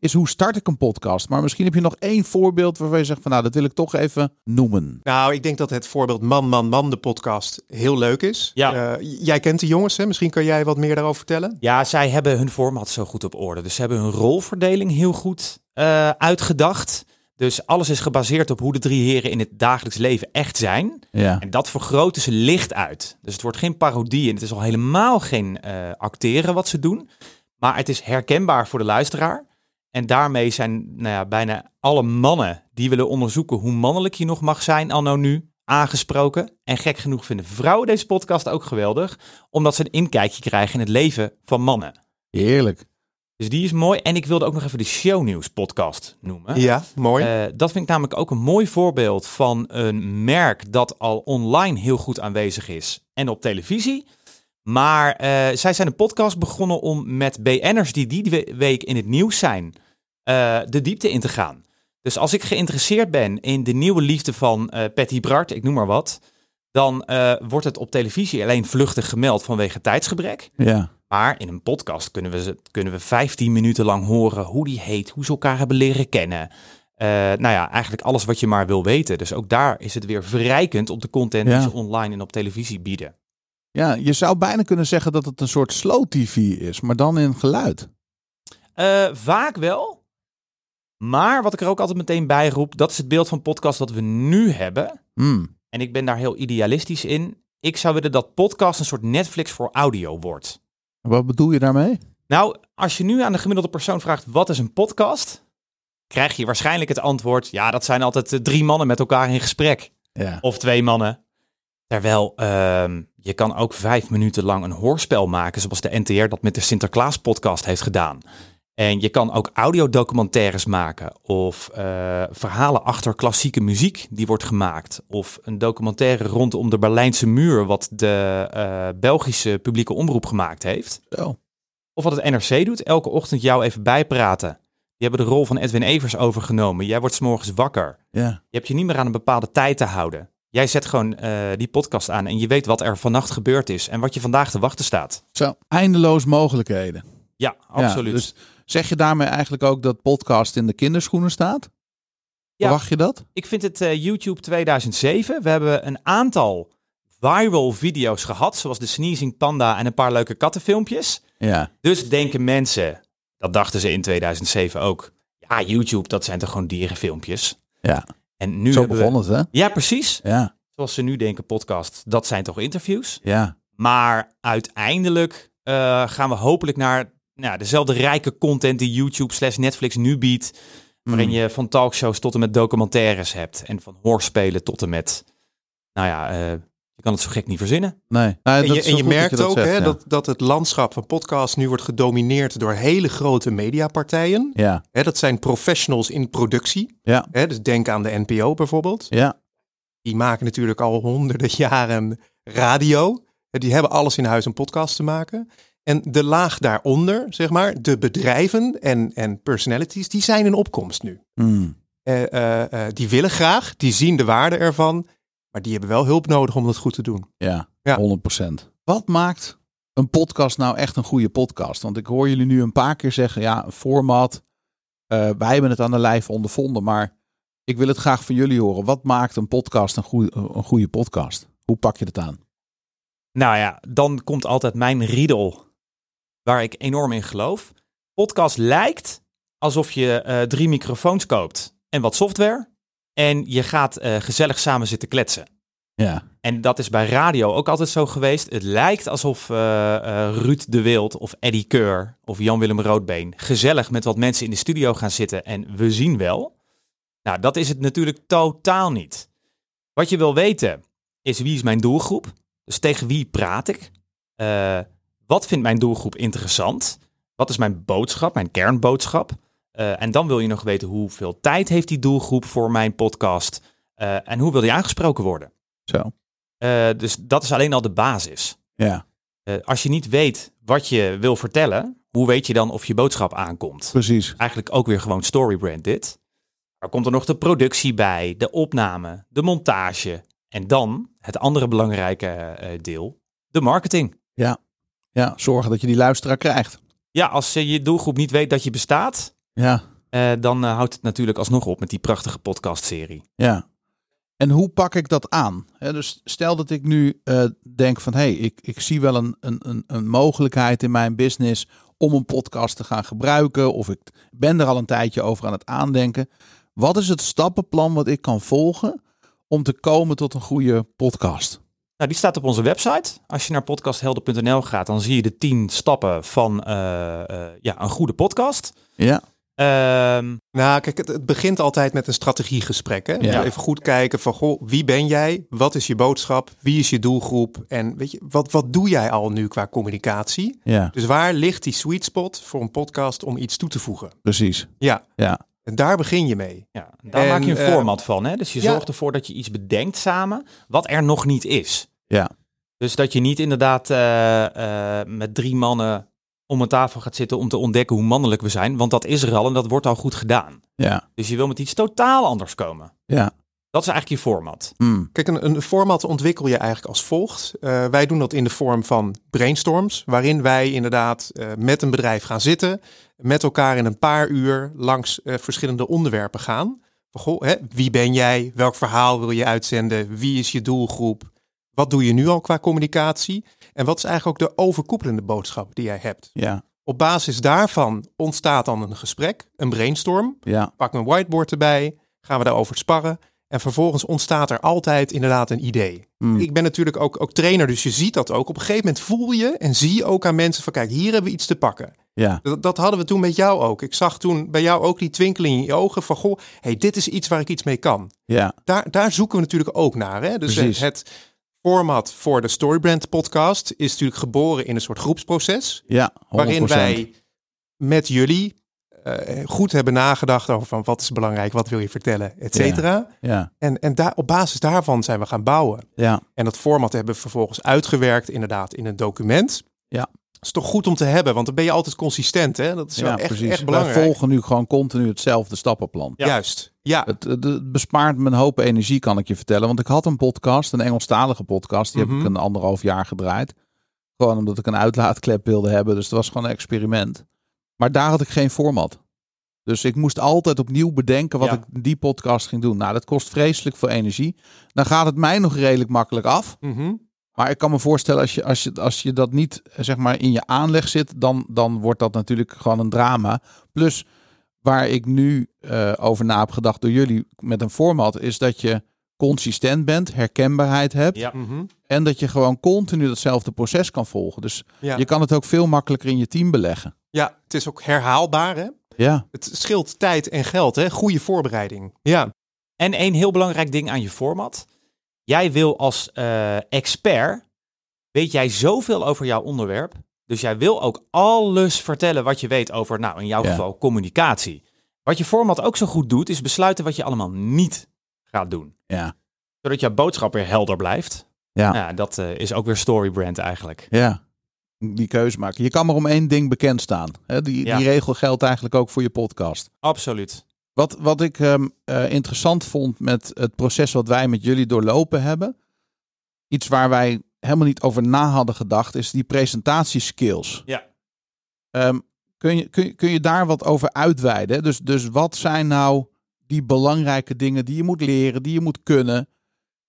Speaker 1: Is hoe start ik een podcast? Maar misschien heb je nog één voorbeeld waarvan je zegt van nou dat wil ik toch even noemen.
Speaker 3: Nou, ik denk dat het voorbeeld Man, Man, Man, de podcast, heel leuk is.
Speaker 4: Ja.
Speaker 3: Eh, j- jij kent de jongens, hè? misschien kan jij wat meer daarover vertellen.
Speaker 4: Ja, zij hebben hun format zo goed op orde. Dus ze hebben hun rolverdeling heel goed eh, uitgedacht. Dus alles is gebaseerd op hoe de drie heren in het dagelijks leven echt zijn.
Speaker 1: Ja.
Speaker 4: En dat vergroten ze licht uit. Dus het wordt geen parodie en het is al helemaal geen eh, acteren wat ze doen. Maar het is herkenbaar voor de luisteraar. En daarmee zijn nou ja, bijna alle mannen die willen onderzoeken hoe mannelijk je nog mag zijn anno nu aangesproken. En gek genoeg vinden vrouwen deze podcast ook geweldig, omdat ze een inkijkje krijgen in het leven van mannen.
Speaker 1: Heerlijk.
Speaker 4: Dus die is mooi. En ik wilde ook nog even de shownieuws podcast noemen.
Speaker 3: Ja, mooi.
Speaker 4: Eh, dat vind ik namelijk ook een mooi voorbeeld van een merk dat al online heel goed aanwezig is en op televisie. Maar eh, zij zijn een podcast begonnen om met BN'ers die die we- week in het nieuws zijn, eh, de diepte in te gaan. Dus als ik geïnteresseerd ben in de nieuwe liefde van eh Patty Bart, ik noem maar wat, dan eh, wordt het op televisie alleen vluchtig gemeld vanwege tijdsgebrek.
Speaker 1: Ja.
Speaker 4: Maar in een podcast kunnen we, ze- kunnen we 15 minuten lang horen hoe die heet, hoe ze elkaar hebben leren kennen. Eh, nou ja, eigenlijk alles wat je maar wil weten. Dus ook daar is het weer verrijkend op de content
Speaker 1: Ja.
Speaker 4: die ze online en op televisie bieden.
Speaker 1: ja, je zou bijna kunnen zeggen dat het een soort slow TV is, maar dan in geluid.
Speaker 4: Eh, vaak wel. Maar wat ik er ook altijd meteen bij roep, dat is het beeld van podcast dat we nu hebben.
Speaker 1: Hmm.
Speaker 4: En ik ben daar heel idealistisch in. Ik zou willen dat podcast een soort Netflix voor audio wordt.
Speaker 1: Wat bedoel je daarmee?
Speaker 4: Nou, als je nu aan de gemiddelde persoon vraagt wat is een podcast, krijg je waarschijnlijk het antwoord: ja, dat zijn altijd eh, drie mannen met elkaar in gesprek.
Speaker 1: Ja.
Speaker 4: Of twee mannen. Terwijl ehm, je kan ook vijf minuten lang een hoorspel maken, zoals de NTR dat met de Sinterklaas podcast heeft gedaan. En je kan ook audiodocumentaires maken of eh, verhalen achter klassieke muziek die wordt gemaakt. Of een documentaire rondom de Berlijnse muur, wat de eh, Belgische publieke omroep gemaakt heeft.
Speaker 1: Zo.
Speaker 4: Of wat het NRC doet, elke ochtend jou even bijpraten. Die hebben de rol van Edwin Evers overgenomen. Jij wordt 's morgens wakker.
Speaker 1: Ja.
Speaker 4: Je hebt je niet meer aan een bepaalde tijd te houden. Jij zet gewoon eh, die podcast aan en je weet wat er vannacht gebeurd is en wat je vandaag te wachten staat.
Speaker 1: Zo. Eindeloos mogelijkheden.
Speaker 4: Ja,
Speaker 1: Ja,
Speaker 4: absoluut.
Speaker 1: dus zeg je daarmee eigenlijk ook dat podcast in de kinderschoenen staat?
Speaker 4: Ja.
Speaker 1: Verwacht je dat?
Speaker 4: Ik vind het eh, YouTube 2007. We hebben een aantal viral video's gehad, zoals de Sneezing Panda en een paar leuke kattenfilmpjes.
Speaker 1: Ja.
Speaker 4: Dus denken mensen, dat dachten ze in 2007 ook. Ja, YouTube, dat zijn toch gewoon dierenfilmpjes.
Speaker 1: Ja.
Speaker 4: En nu
Speaker 1: Zo
Speaker 4: hebben we-
Speaker 1: begon het, hè?
Speaker 4: Ja, precies.
Speaker 1: Ja.
Speaker 4: Zoals ze nu denken, podcast, dat zijn toch interviews?
Speaker 1: Ja.
Speaker 4: Maar uiteindelijk eh, gaan we hopelijk naar nou, dezelfde rijke content die YouTube slash Netflix nu biedt. Waarin
Speaker 1: Mm.
Speaker 4: je van talkshows tot en met documentaires hebt. En van hoorspelen tot en met, nou ja, eh, je kan het zo gek niet verzinnen.
Speaker 1: Nee. Nou,
Speaker 3: En
Speaker 1: dat
Speaker 3: je,
Speaker 1: is wel
Speaker 3: en je
Speaker 1: goed dat
Speaker 3: merkt
Speaker 1: dat
Speaker 3: ook
Speaker 1: zegt,
Speaker 3: hè,
Speaker 1: ja.
Speaker 3: dat, dat het landschap van podcast nu wordt gedomineerd door hele grote mediapartijen.
Speaker 1: Ja.
Speaker 3: Hè, dat zijn professionals in productie.
Speaker 1: Ja.
Speaker 3: Hè, dus denk aan de NPO bijvoorbeeld.
Speaker 1: Ja.
Speaker 3: Die maken natuurlijk al honderden jaren radio. Hè, Die hebben alles in huis om podcast te maken. En de laag daaronder, zeg maar, de bedrijven en, en personalities, die zijn in opkomst nu.
Speaker 1: Hmm.
Speaker 3: Eh, eh, eh, die willen graag, die zien de waarde ervan, maar die hebben wel hulp nodig om dat goed te doen.
Speaker 1: Ja.
Speaker 3: Ja.
Speaker 1: 100%. Wat maakt een podcast nou echt een goede podcast? Want ik hoor jullie nu een paar keer zeggen, ja, een format. eh, wij hebben het aan de lijf ondervonden, maar ik wil het graag van jullie horen. Wat maakt een podcast een goede, een goede podcast? Hoe pak je dat aan?
Speaker 4: Nou ja, dan komt altijd mijn riedel, waar ik enorm in geloof. Podcast lijkt alsof je eh, drie microfoons koopt en wat software. En je gaat eh, gezellig samen zitten kletsen.
Speaker 1: Ja.
Speaker 4: En dat is bij radio ook altijd zo geweest. Het lijkt alsof eh, eh, Ruud de Wild of Eddie Keur of Jan-Willem Roodbeen gezellig met wat mensen in de studio gaan zitten en we zien wel. Nou, dat is het natuurlijk totaal niet. Wat je wil weten is wie is mijn doelgroep? Dus tegen wie praat ik? Eh, wat vindt mijn doelgroep interessant? Wat is mijn boodschap, mijn kernboodschap? Eh, en dan wil je nog weten hoeveel tijd heeft die doelgroep voor mijn podcast? Eh, en hoe wil die aangesproken worden?
Speaker 1: Zo.
Speaker 4: Eh, dus dat is alleen al de basis.
Speaker 1: Ja.
Speaker 4: Eh, als je niet weet wat je wil vertellen, hoe weet je dan of je boodschap aankomt?
Speaker 1: Precies.
Speaker 4: Eigenlijk ook weer gewoon storybrand dit. Er komt er nog de productie bij, de opname, de montage. En dan het andere belangrijke eh, deel, de marketing.
Speaker 1: Ja. Zorgen dat je die luisteraar krijgt.
Speaker 4: Ja, als eh, je doelgroep niet weet dat je bestaat,
Speaker 1: Ja.
Speaker 4: eh, dan eh, houdt het natuurlijk alsnog op met die prachtige podcastserie.
Speaker 1: Ja. En hoe pak ik dat aan? Hè, dus stel dat ik nu eh, denk van, hé, hey, ik, ik zie wel een, een, een, een mogelijkheid in mijn business om een podcast te gaan gebruiken. Of ik ben er al een tijdje over aan het aandenken. Wat is het stappenplan wat ik kan volgen om te komen tot een goede podcast?
Speaker 4: Nou, die staat op onze website. Als je naar podcasthelden.nl gaat, dan zie je de 10 stappen van eh, eh, ja, een goede podcast.
Speaker 1: Ja,
Speaker 4: Ehm,
Speaker 3: Nou, kijk, het, het begint altijd met een strategiegesprek. Hè?
Speaker 1: Ja.
Speaker 3: Even goed kijken van, goh, wie ben jij? Wat is je boodschap? Wie is je doelgroep? En weet je, wat, wat doe jij al nu qua communicatie?
Speaker 1: ja,
Speaker 3: Dus waar ligt die sweet spot voor een podcast om iets toe te voegen?
Speaker 1: precies.
Speaker 3: Ja.
Speaker 1: Ja.
Speaker 3: En daar begin je mee.
Speaker 4: ja, daar
Speaker 3: En,
Speaker 4: maak je een
Speaker 3: eh,
Speaker 4: format van. Hè? Dus je
Speaker 3: ja.
Speaker 4: zorgt ervoor dat je iets bedenkt samen wat er nog niet is.
Speaker 1: Ja.
Speaker 4: Dus dat je niet inderdaad eh, eh, met drie mannen om een tafel gaat zitten om te ontdekken hoe mannelijk we zijn. Want dat is er al en dat wordt al goed gedaan.
Speaker 1: Ja,
Speaker 4: Dus je wil met iets totaal anders komen.
Speaker 1: ja.
Speaker 4: Dat is eigenlijk je format.
Speaker 1: Hmm.
Speaker 3: Kijk, een, een format ontwikkel je eigenlijk als volgt. Eh, wij doen dat in de vorm van brainstorms, waarin wij inderdaad eh, met een bedrijf gaan zitten, met elkaar in een paar uur langs eh, verschillende onderwerpen gaan. Van, Goh, hè, wie ben jij? Welk verhaal wil je uitzenden? Wie is je doelgroep? Wat doe je nu al qua communicatie? En wat is eigenlijk ook de overkoepelende boodschap die jij hebt?
Speaker 1: Ja,
Speaker 3: Op basis daarvan ontstaat dan een gesprek, een brainstorm
Speaker 1: ja,
Speaker 3: pak mijn whiteboard erbij, gaan we daarover sparren. En vervolgens ontstaat er altijd inderdaad een idee.
Speaker 1: Hmm.
Speaker 3: Ik ben natuurlijk ook, ook trainer, dus je ziet dat ook. Op een gegeven moment voel je en zie je ook aan mensen van kijk, hier hebben we iets te pakken.
Speaker 1: ja.
Speaker 3: Dat, dat hadden we toen met jou ook. Ik zag toen bij jou ook die twinkeling in je ogen van goh, hey, dit is iets waar ik iets mee kan.
Speaker 1: ja.
Speaker 3: Daar, daar zoeken we natuurlijk ook naar. Hè? Dus
Speaker 1: Precies.
Speaker 3: eh, het format voor de Storybrand podcast is natuurlijk geboren in een soort groepsproces
Speaker 1: Ja, 100%.
Speaker 3: waarin wij met jullie eh, goed hebben nagedacht over van wat is belangrijk, wat wil je vertellen, et cetera.
Speaker 1: Ja,
Speaker 3: En, en daar, op basis daarvan zijn we gaan bouwen.
Speaker 1: ja,
Speaker 3: En dat format hebben we vervolgens uitgewerkt, inderdaad, in een document.
Speaker 1: Ja.
Speaker 3: Dat is toch goed om te hebben, want dan ben je altijd consistent. Hè? Dat is
Speaker 1: ja
Speaker 3: wel echt,
Speaker 1: precies.
Speaker 3: echt
Speaker 1: wij
Speaker 3: belangrijk.
Speaker 1: volgen nu gewoon continu hetzelfde stappenplan.
Speaker 2: Ja.
Speaker 3: Juist. Ja,
Speaker 1: Het, het- het bespaart me een hoop energie, kan ik je vertellen. Want ik had een podcast, een Engelstalige podcast. Die
Speaker 3: Mhm.
Speaker 1: heb ik een anderhalf jaar gedraaid. Gewoon omdat ik een uitlaatklep wilde hebben. Dus het was gewoon een experiment. Maar daar had ik geen format. Dus ik moest altijd opnieuw bedenken wat
Speaker 3: Ja.
Speaker 1: ik in die podcast ging doen. Nou, dat kost vreselijk veel energie. Dan gaat het mij nog redelijk makkelijk af.
Speaker 3: Mhm.
Speaker 1: Maar ik kan me voorstellen, als je, als je, als je dat niet eh, zeg maar, in je aanleg zit, dan, dan wordt dat natuurlijk gewoon een drama. Plus, waar ik nu eh, over na heb gedacht door jullie met een format, is dat je consistent bent, herkenbaarheid hebt
Speaker 4: Ja.
Speaker 3: Mhm.
Speaker 1: en dat je gewoon continu datzelfde proces kan volgen. Dus
Speaker 3: Ja.
Speaker 1: je kan het ook veel makkelijker in je team beleggen.
Speaker 3: ja, het is ook herhaalbaar. Hè?
Speaker 1: Ja,
Speaker 3: Het scheelt tijd en geld. Hè? Goede voorbereiding. Ja.
Speaker 4: En één heel belangrijk ding aan je format. Jij wil als eh, expert, weet jij zoveel over jouw onderwerp. Dus jij wil ook alles vertellen wat je weet over, nou in jouw
Speaker 1: Ja.
Speaker 4: geval, communicatie. Wat je format ook zo goed doet, is besluiten wat je allemaal niet gaat doen.
Speaker 1: ja,
Speaker 4: Zodat jouw boodschap weer helder blijft.
Speaker 1: Ja.
Speaker 4: Nou, dat eh, is ook weer storybrand eigenlijk.
Speaker 1: ja. Die keuze maken. Je kan maar om één ding bekend staan. Hè, die,
Speaker 4: Ja.
Speaker 1: die regel geldt eigenlijk ook voor je podcast.
Speaker 4: Absoluut.
Speaker 1: Wat, wat ik ehm, eh, interessant vond met het proces wat wij met jullie doorlopen hebben, iets waar wij helemaal niet over na hadden gedacht, is die presentatieskills.
Speaker 4: Ja.
Speaker 1: Ehm, kun, je, kun, je- kun je daar wat over uitweiden? Dus, dus wat zijn nou die belangrijke dingen die je moet leren, die je moet kunnen,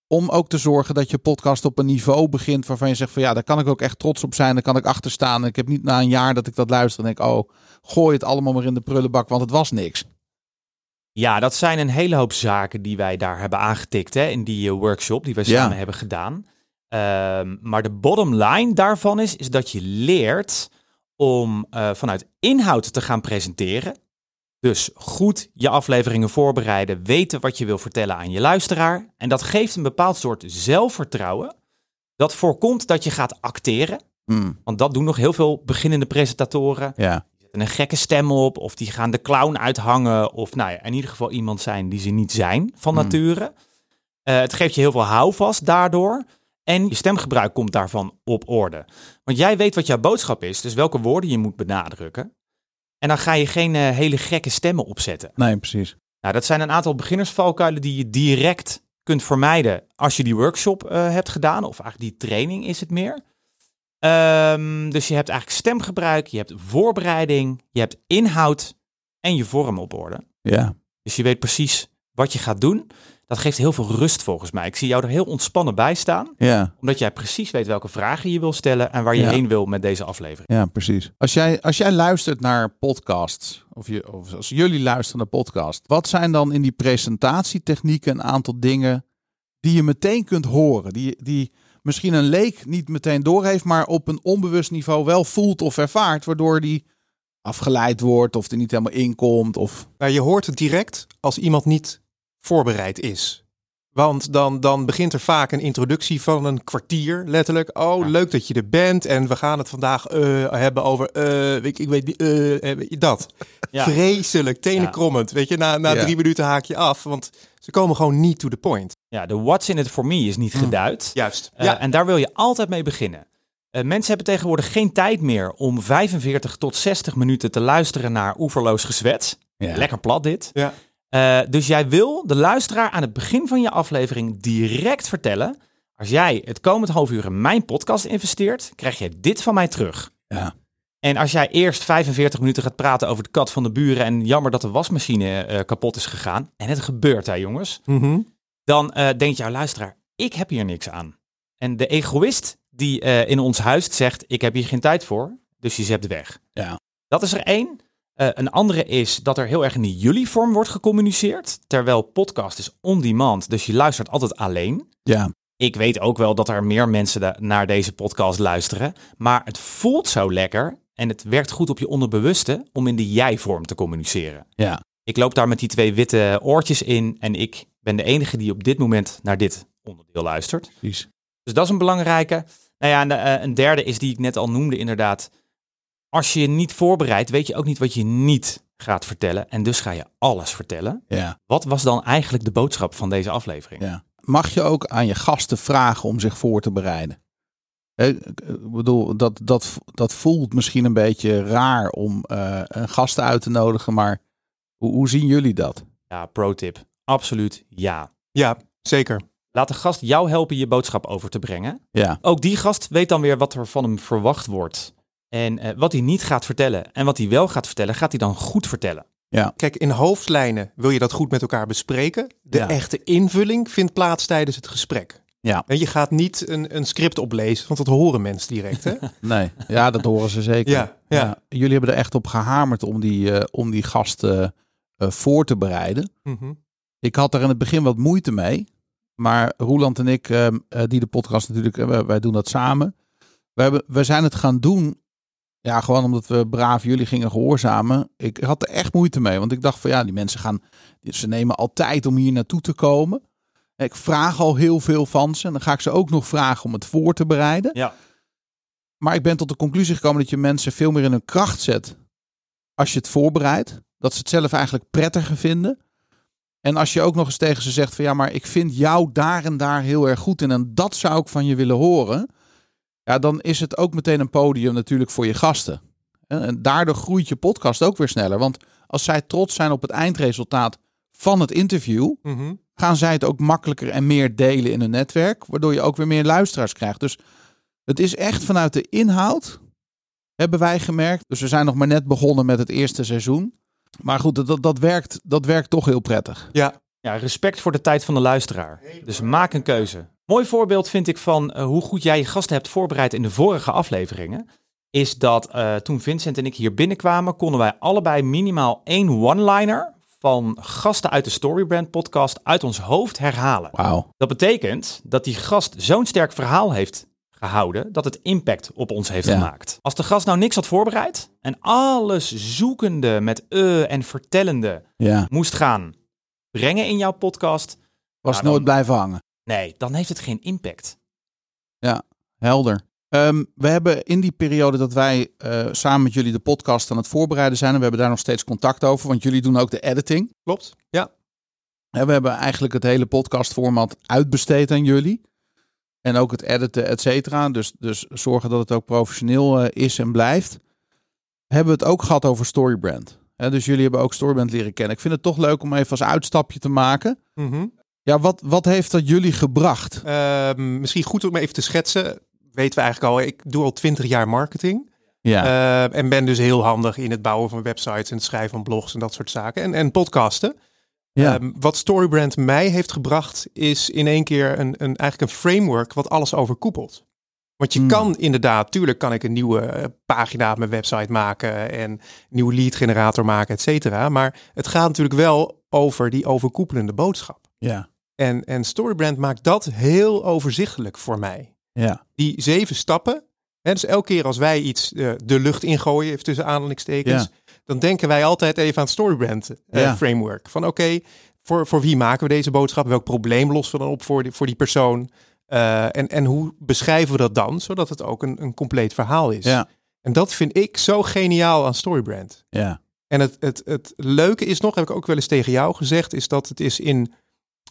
Speaker 1: om ook te zorgen dat je podcast op een niveau begint waarvan je zegt van ja, daar kan ik ook echt trots op zijn, daar kan ik achter staan. Ik heb niet na een jaar dat ik dat luister en denk, oh, gooi het allemaal maar in de prullenbak, want het was niks.
Speaker 4: Ja, dat zijn een hele hoop zaken die wij daar hebben aangetikt hè, in die eh, workshop die wij
Speaker 1: Ja.
Speaker 4: samen hebben gedaan. Ehm, maar de bottom line daarvan is, is dat je leert om eh, vanuit inhoud te gaan presenteren. Dus goed je afleveringen voorbereiden, weten wat je wil vertellen aan je luisteraar. En dat geeft een bepaald soort zelfvertrouwen. Dat voorkomt dat je gaat acteren.
Speaker 1: Hmm,
Speaker 4: Want dat doen nog heel veel beginnende presentatoren
Speaker 1: ja.
Speaker 4: zetten een gekke stem op, of die gaan de clown uithangen, of nou ja, in ieder geval iemand zijn die ze niet zijn van
Speaker 1: Hmm.
Speaker 4: nature. Eh, het geeft je heel veel houvast daardoor. En je stemgebruik komt daarvan op orde. Want jij weet wat jouw boodschap is, dus welke woorden je moet benadrukken. En dan ga je geen eh, hele gekke stemmen opzetten.
Speaker 1: Nee, precies.
Speaker 4: Nou, dat zijn een aantal beginnersvalkuilen die je direct kunt vermijden als je die workshop eh, hebt gedaan, of eigenlijk die training is het meer. Ehm, dus je hebt eigenlijk stemgebruik, je hebt voorbereiding, je hebt inhoud en je vorm op orde.
Speaker 1: Ja.
Speaker 4: Dus je weet precies wat je gaat doen. Dat geeft heel veel rust volgens mij. Ik zie jou er heel ontspannen bij staan,
Speaker 1: Ja,
Speaker 4: omdat jij precies weet welke vragen je wil stellen en waar je
Speaker 1: Ja.
Speaker 4: heen wil met deze aflevering.
Speaker 1: ja, precies. Als jij, als jij luistert naar podcasts, of, je, of als jullie luisteren naar podcasts, wat zijn dan in die presentatietechnieken een aantal dingen die je meteen kunt horen? Die, die misschien een leek niet meteen doorheeft, maar op een onbewust niveau wel voelt of ervaart, waardoor die afgeleid wordt of er niet helemaal inkomt. Of...
Speaker 3: Nou, je hoort het direct als iemand niet voorbereid is. Want dan, dan begint er vaak een introductie van een kwartier, letterlijk. Oh,
Speaker 4: Ja.
Speaker 3: leuk dat je er bent. En we gaan het vandaag eh, hebben over. eh, ik, ik weet niet. eh, eh, weet je, dat.
Speaker 4: Ja.
Speaker 3: Vreselijk, tenenkrommend. Weet je, na, na
Speaker 1: Ja.
Speaker 3: drie minuten haak je af. Want ze komen gewoon niet to the point.
Speaker 4: Ja, de what's in it for me is niet geduid.
Speaker 3: Juist.
Speaker 4: Eh,
Speaker 3: ja.
Speaker 4: En daar wil je altijd mee beginnen. Eh, mensen hebben tegenwoordig geen tijd meer om 45 tot 60 minuten te luisteren naar oeverloos gezwets.
Speaker 1: Ja.
Speaker 4: Lekker plat dit.
Speaker 3: Ja.
Speaker 4: Eh, dus jij wil de luisteraar aan het begin van je aflevering direct vertellen. Als jij het komend half uur in mijn podcast investeert, krijg je dit van mij terug.
Speaker 1: Ja.
Speaker 4: En als jij eerst 45 minuten gaat praten over de kat van de buren en jammer dat de wasmachine eh, kapot is gegaan. En het gebeurt daar, jongens
Speaker 3: Mhm.
Speaker 4: dan eh, denkt jouw luisteraar, ik heb hier niks aan. En de egoïst die eh, in ons huis zegt, ik heb hier geen tijd voor, dus je zept weg.
Speaker 1: Ja.
Speaker 4: Dat is er één. Eh, een andere is dat er heel erg in de jullie vorm wordt gecommuniceerd, terwijl podcast is on demand, dus je luistert altijd alleen.
Speaker 1: Ja.
Speaker 4: Ik weet ook wel dat er meer mensen da- naar deze podcast luisteren, maar het voelt zo lekker en het werkt goed op je onderbewuste om in de jij-vorm te communiceren.
Speaker 1: Ja.
Speaker 4: Ik loop daar met die twee witte oortjes in en ik ben de enige die op dit moment naar dit onderdeel luistert.
Speaker 1: Precies.
Speaker 4: Dus dat is een belangrijke. Nou ja, en, eh, een derde is die ik net al noemde inderdaad. Als je je niet voorbereidt, weet je ook niet wat je niet gaat vertellen. En dus ga je alles vertellen.
Speaker 1: Ja.
Speaker 4: Wat was dan eigenlijk de boodschap van deze aflevering?
Speaker 1: Ja. Mag je ook aan je gasten vragen om zich voor te bereiden? Hè, Ik eh, bedoel, dat, dat, dat voelt misschien een beetje raar om eh, een gast uit te nodigen, maar hoe, hoe zien jullie dat?
Speaker 4: Ja, pro tip. Absoluut ja.
Speaker 3: Ja, zeker.
Speaker 4: Laat de gast jou helpen je boodschap over te brengen.
Speaker 1: Ja,
Speaker 4: Ook die gast weet dan weer wat er van hem verwacht wordt. En eh, wat hij niet gaat vertellen en wat hij wel gaat vertellen, gaat hij dan goed vertellen.
Speaker 3: Kijk, in hoofdlijnen wil je dat goed met elkaar bespreken. De
Speaker 1: Ja.
Speaker 3: echte invulling vindt plaats tijdens het gesprek.
Speaker 1: Ja.
Speaker 3: En je gaat niet een, een script oplezen, want dat horen mensen direct. Hè?
Speaker 1: nee. Ja, dat horen ze zeker.
Speaker 3: Ja, ja.
Speaker 1: Jullie hebben er echt op gehamerd om die, eh, om die gasten eh, voor te bereiden.
Speaker 3: Mhm.
Speaker 1: Ik had er in het begin wat moeite mee. Maar Roeland en ik, ehm, eh, die de podcast natuurlijk, eh, wij- wij doen dat samen. We, hebben, we zijn het gaan doen. Ja, gewoon omdat we braaf jullie gingen gehoorzamen. Ik had er echt moeite mee. Want ik dacht van ja, die mensen gaan. Ze nemen altijd om hier naartoe te komen. Ik vraag al heel veel van ze. En dan ga ik ze ook nog vragen om het voor te bereiden.
Speaker 4: Ja.
Speaker 1: Maar ik ben tot de conclusie gekomen dat je mensen veel meer in hun kracht zet. als je het voorbereidt. Dat ze het zelf eigenlijk prettiger vinden. En als je ook nog eens tegen ze zegt van ja, maar ik vind jou daar en daar heel erg goed in en dat zou ik van je willen horen. Ja, dan is het ook meteen een podium natuurlijk voor je gasten. En en daardoor groeit je podcast ook weer sneller. Want als zij trots zijn op het eindresultaat van het interview,
Speaker 3: Mhm.
Speaker 1: gaan zij het ook makkelijker en meer delen in hun netwerk, waardoor je ook weer meer luisteraars krijgt. Dus het is echt vanuit de inhoud, hebben wij gemerkt. Dus we zijn nog maar net begonnen met het eerste seizoen. Maar goed, dat- dat, dat, werkt, dat werkt toch heel prettig.
Speaker 3: Ja,
Speaker 4: Ja, respect voor de tijd van de luisteraar. Dus maak een keuze. Mooi voorbeeld vind ik van eh, hoe goed jij je gasten hebt voorbereid in de vorige afleveringen. Is dat eh, toen Vincent en ik hier binnenkwamen, konden wij allebei minimaal één one-liner van gasten uit de Storybrand podcast uit ons hoofd herhalen.
Speaker 1: Wauw.
Speaker 4: Dat betekent dat die gast zo'n sterk verhaal heeft gehouden dat het impact op ons heeft
Speaker 1: Ja.
Speaker 4: gemaakt. Als de gast nou niks had voorbereid en alles zoekende met eh en vertellende
Speaker 1: Ja.
Speaker 4: moest gaan brengen in jouw podcast,
Speaker 1: Was
Speaker 4: Ja, dan-
Speaker 1: nooit blijven hangen.
Speaker 4: nee, dan heeft het geen impact.
Speaker 1: Helder. Ehm, we hebben in die periode dat wij eh, samen met jullie de podcast aan het voorbereiden zijn, en we hebben daar nog steeds contact over, want jullie doen ook de editing.
Speaker 3: klopt. Ja.
Speaker 1: Hè, We hebben eigenlijk het hele podcastformat uitbesteed aan jullie. En ook het editen, et cetera. Dus, dus zorgen dat het ook professioneel eh, is en blijft. Hebben we het ook gehad over Storybrand. Hè, dus jullie hebben ook Storybrand leren kennen. Ik vind het toch leuk om even als uitstapje te maken.
Speaker 3: Mhm.
Speaker 1: Ja, wat, wat heeft dat jullie gebracht?
Speaker 3: Ehm, misschien goed om even te schetsen. Weten we eigenlijk al, ik doe al twintig jaar marketing.
Speaker 1: Ja,
Speaker 3: Eh, en ben dus heel handig in het bouwen van websites en het schrijven van blogs en dat soort zaken. En, en podcasten.
Speaker 1: ja.
Speaker 3: Ehm, wat Storybrand mij heeft gebracht, is in één keer een, een, eigenlijk een framework wat alles overkoepelt. Want je
Speaker 1: Hmm.
Speaker 3: kan inderdaad, tuurlijk kan ik een nieuwe eh, pagina op mijn website maken en een nieuwe lead generator maken, et cetera. Maar het gaat natuurlijk wel over die overkoepelende boodschap.
Speaker 1: ja,
Speaker 3: En, en Storybrand maakt dat heel overzichtelijk voor mij
Speaker 1: ja,
Speaker 3: die zeven stappen. Hè, dus elke keer als wij iets eh, de lucht ingooien, even tussen aanhalingstekens, dan denken wij altijd even aan het Storybrand eh,
Speaker 1: Ja.
Speaker 3: framework. Van oké, voor, voor wie maken we deze boodschap? Welk probleem lossen we dan op voor die, voor die persoon? Eh, en, en hoe beschrijven we dat dan, zodat het ook een, een compleet verhaal is?
Speaker 1: ja,
Speaker 3: En dat vind ik zo geniaal aan Storybrand.
Speaker 1: ja,
Speaker 3: En het, het, het leuke is nog, heb ik ook wel eens tegen jou gezegd, is dat het is in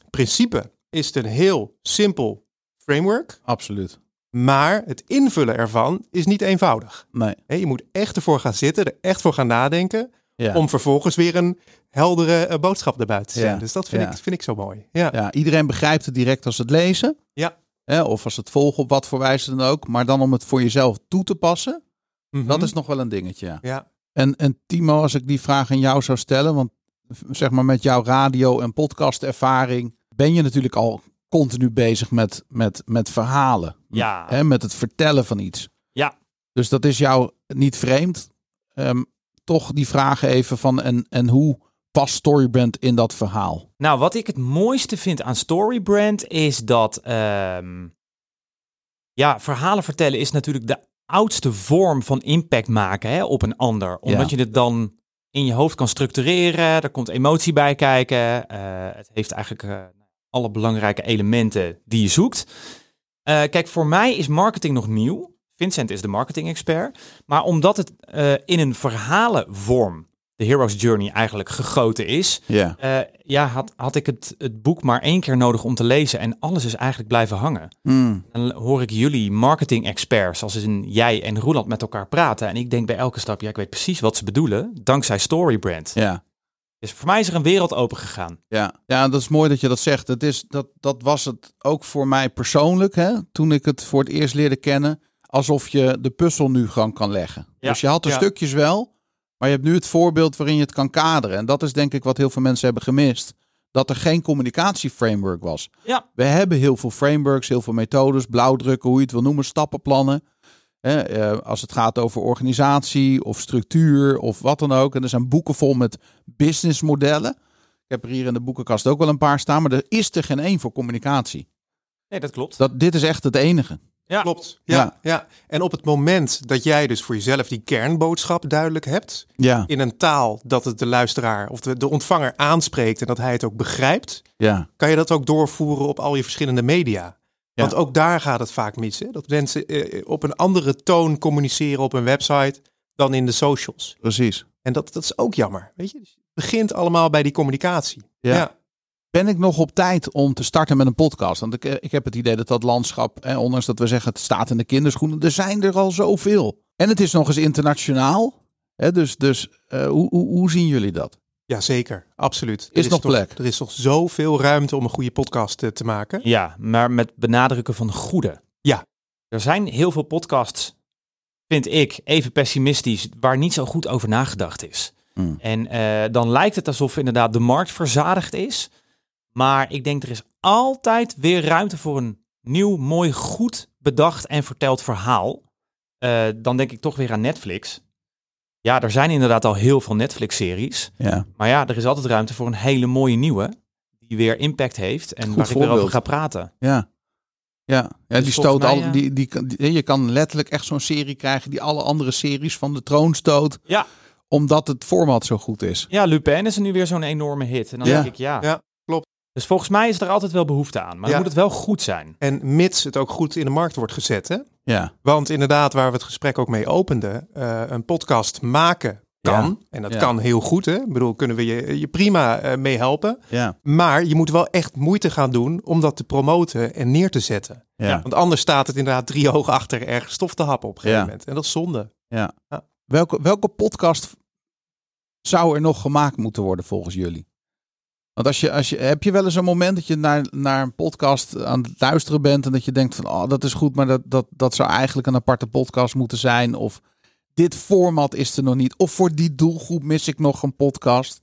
Speaker 3: principe is het een heel simpel framework.
Speaker 1: absoluut.
Speaker 3: Maar het invullen ervan is niet eenvoudig.
Speaker 1: Nee,
Speaker 3: Hè, Je moet echt ervoor gaan zitten, er echt voor gaan nadenken.
Speaker 1: Ja.
Speaker 3: Om vervolgens weer een heldere eh, boodschap naar buiten te
Speaker 1: Ja.
Speaker 3: zenden. Dus dat vind,
Speaker 1: Ja.
Speaker 3: ik, vind ik zo mooi. Ja.
Speaker 1: Ja, iedereen begrijpt het direct als ze het lezen.
Speaker 3: Ja.
Speaker 1: Hè, of als ze het volgen op wat voor wijze dan ook. Maar dan om het voor jezelf toe te passen,
Speaker 3: Mhm.
Speaker 1: dat is nog wel een dingetje. Ja.
Speaker 3: Ja.
Speaker 1: En, en Timo, als ik die vraag aan jou zou stellen, want zeg maar met jouw radio- en podcastervaring ben je natuurlijk al continu bezig met, met, met verhalen.
Speaker 4: Ja.
Speaker 1: Hè, met het vertellen van iets.
Speaker 4: Ja.
Speaker 1: Dus dat is jou niet vreemd. Ehm, toch die vraag even van en, en hoe past Storybrand in dat verhaal?
Speaker 4: Nou, wat ik het mooiste vind aan Storybrand is dat. ehm, ja, verhalen vertellen is natuurlijk de oudste vorm van impact maken hè, op een ander. Omdat je het dan in je hoofd kan structureren, er komt emotie bij kijken. eh, het heeft eigenlijk eh, alle belangrijke elementen die je zoekt. Eh, kijk, voor mij is marketing nog nieuw. Vincent is de marketing-expert. Maar omdat het eh, in een verhalenvorm, de Hero's Journey, eigenlijk gegoten is,
Speaker 1: Ja.
Speaker 4: eh, ja, had, had ik het, het boek maar één keer nodig om te lezen en alles is eigenlijk blijven hangen.
Speaker 1: Hmm,
Speaker 4: Dan hoor ik jullie marketing-experts, als in jij en Roeland, met elkaar praten. En ik denk bij elke stap, ja, ik weet precies wat ze bedoelen, dankzij Storybrand.
Speaker 1: Ja.
Speaker 4: Dus voor mij is er een wereld open gegaan.
Speaker 1: Ja, ja, dat is mooi dat je dat zegt. Het is, dat, dat was het ook voor mij persoonlijk, hè, toen ik het voor het eerst leerde kennen, alsof je de puzzel nu gewoon kan leggen.
Speaker 4: Ja,
Speaker 1: Dus je had de
Speaker 3: ja.
Speaker 1: stukjes wel, maar je hebt nu het voorbeeld waarin je het kan kaderen. En dat is denk ik wat heel veel mensen hebben gemist. Dat er geen communicatieframework was.
Speaker 4: Ja.
Speaker 1: We hebben heel veel frameworks, heel veel methodes, blauwdrukken, hoe je het wil noemen, stappenplannen. Hè, eh, als het gaat over organisatie of structuur of wat dan ook. En er zijn boeken vol met businessmodellen. Ik heb er hier in de boekenkast ook wel een paar staan, maar er is er geen één voor communicatie.
Speaker 4: Nee, dat klopt.
Speaker 1: Dat, dit is echt het enige.
Speaker 4: Ja.
Speaker 3: Klopt. Ja,
Speaker 1: Ah. Ja.
Speaker 3: ja. En op het moment dat jij dus voor jezelf die kernboodschap duidelijk hebt,
Speaker 1: Ja,
Speaker 3: in een taal dat het de luisteraar of de, de ontvanger aanspreekt en dat hij het ook begrijpt,
Speaker 1: ja,
Speaker 3: kan je dat ook doorvoeren op al je verschillende media.
Speaker 1: Ja.
Speaker 3: Want ook daar gaat het vaak mis. Hè? Dat mensen eh, op een andere toon communiceren op een website dan in de socials.
Speaker 1: precies.
Speaker 3: En dat, dat is ook jammer. Weet je? Dus het begint allemaal bij die communicatie.
Speaker 1: Ja. Ben ik nog op tijd om te starten met een podcast? Want ik, eh, ik heb het idee dat dat landschap, eh, ondanks dat we zeggen het staat in de kinderschoenen, er zijn er al zoveel. En het is nog eens internationaal. Hè, dus dus eh, hoe, hoe, hoe zien jullie dat?
Speaker 3: ja zeker. Absoluut. Er
Speaker 1: Is nog
Speaker 3: toch-
Speaker 1: plek.
Speaker 3: Er is toch zoveel ruimte om een goede podcast eh, te maken.
Speaker 4: Ja, maar met benadrukken van goede.
Speaker 3: Ja.
Speaker 4: Er zijn heel veel podcasts, vind ik, even pessimistisch, waar niet zo goed over nagedacht is.
Speaker 1: Hmm.
Speaker 4: En eh, dan lijkt het alsof inderdaad de markt verzadigd is. Maar ik denk er is altijd weer ruimte voor een nieuw, mooi, goed bedacht en verteld verhaal. Eh, dan denk ik toch weer aan Netflix. Ja, er zijn inderdaad al heel veel Netflix-series.
Speaker 1: Ja,
Speaker 4: Maar ja, er is altijd ruimte voor een hele mooie nieuwe. Die weer impact heeft en
Speaker 1: Goed
Speaker 4: waar ik weer over
Speaker 1: voorbeeld.
Speaker 4: ga praten.
Speaker 1: ja. Ja, ja die
Speaker 4: Dus volgens
Speaker 1: stoot
Speaker 4: mij, eh,
Speaker 1: al.
Speaker 4: ja.
Speaker 1: Die, die, die- je kan letterlijk echt zo'n serie krijgen die alle andere series van de troon stoot.
Speaker 4: Ja.
Speaker 1: Omdat het format zo goed is.
Speaker 4: Ja, Lupin is er nu weer zo'n enorme hit. En dan
Speaker 1: Ja.
Speaker 4: denk ik, ja.
Speaker 3: Ja, klopt.
Speaker 4: Dus volgens mij is er altijd wel behoefte aan. Maar
Speaker 3: Ja.
Speaker 4: dan moet het wel goed zijn.
Speaker 3: En mits het ook goed in de markt wordt gezet. Hè?
Speaker 1: Ja,
Speaker 3: Want inderdaad, waar we het gesprek ook mee openden, eh, een podcast maken kan. En dat
Speaker 1: Ja.
Speaker 3: kan heel goed. Hè? Ik bedoel, kunnen we je, je prima eh, mee helpen.
Speaker 1: ja,
Speaker 3: Maar je moet wel echt moeite gaan doen om dat te promoten en neer te zetten.
Speaker 1: ja.
Speaker 3: Want anders staat het inderdaad drie hoog achter ergens stof te happen op een gegeven
Speaker 1: Ja.
Speaker 3: moment. En dat is zonde.
Speaker 1: Welke, welke podcast zou er nog gemaakt moeten worden volgens jullie? Want als je, als je, heb je wel eens een moment dat je naar, naar een podcast aan het luisteren bent en dat je denkt van oh, dat is goed, maar dat, dat, dat zou eigenlijk een aparte podcast moeten zijn. Of dit format is er nog niet. Of voor die doelgroep mis ik nog een podcast.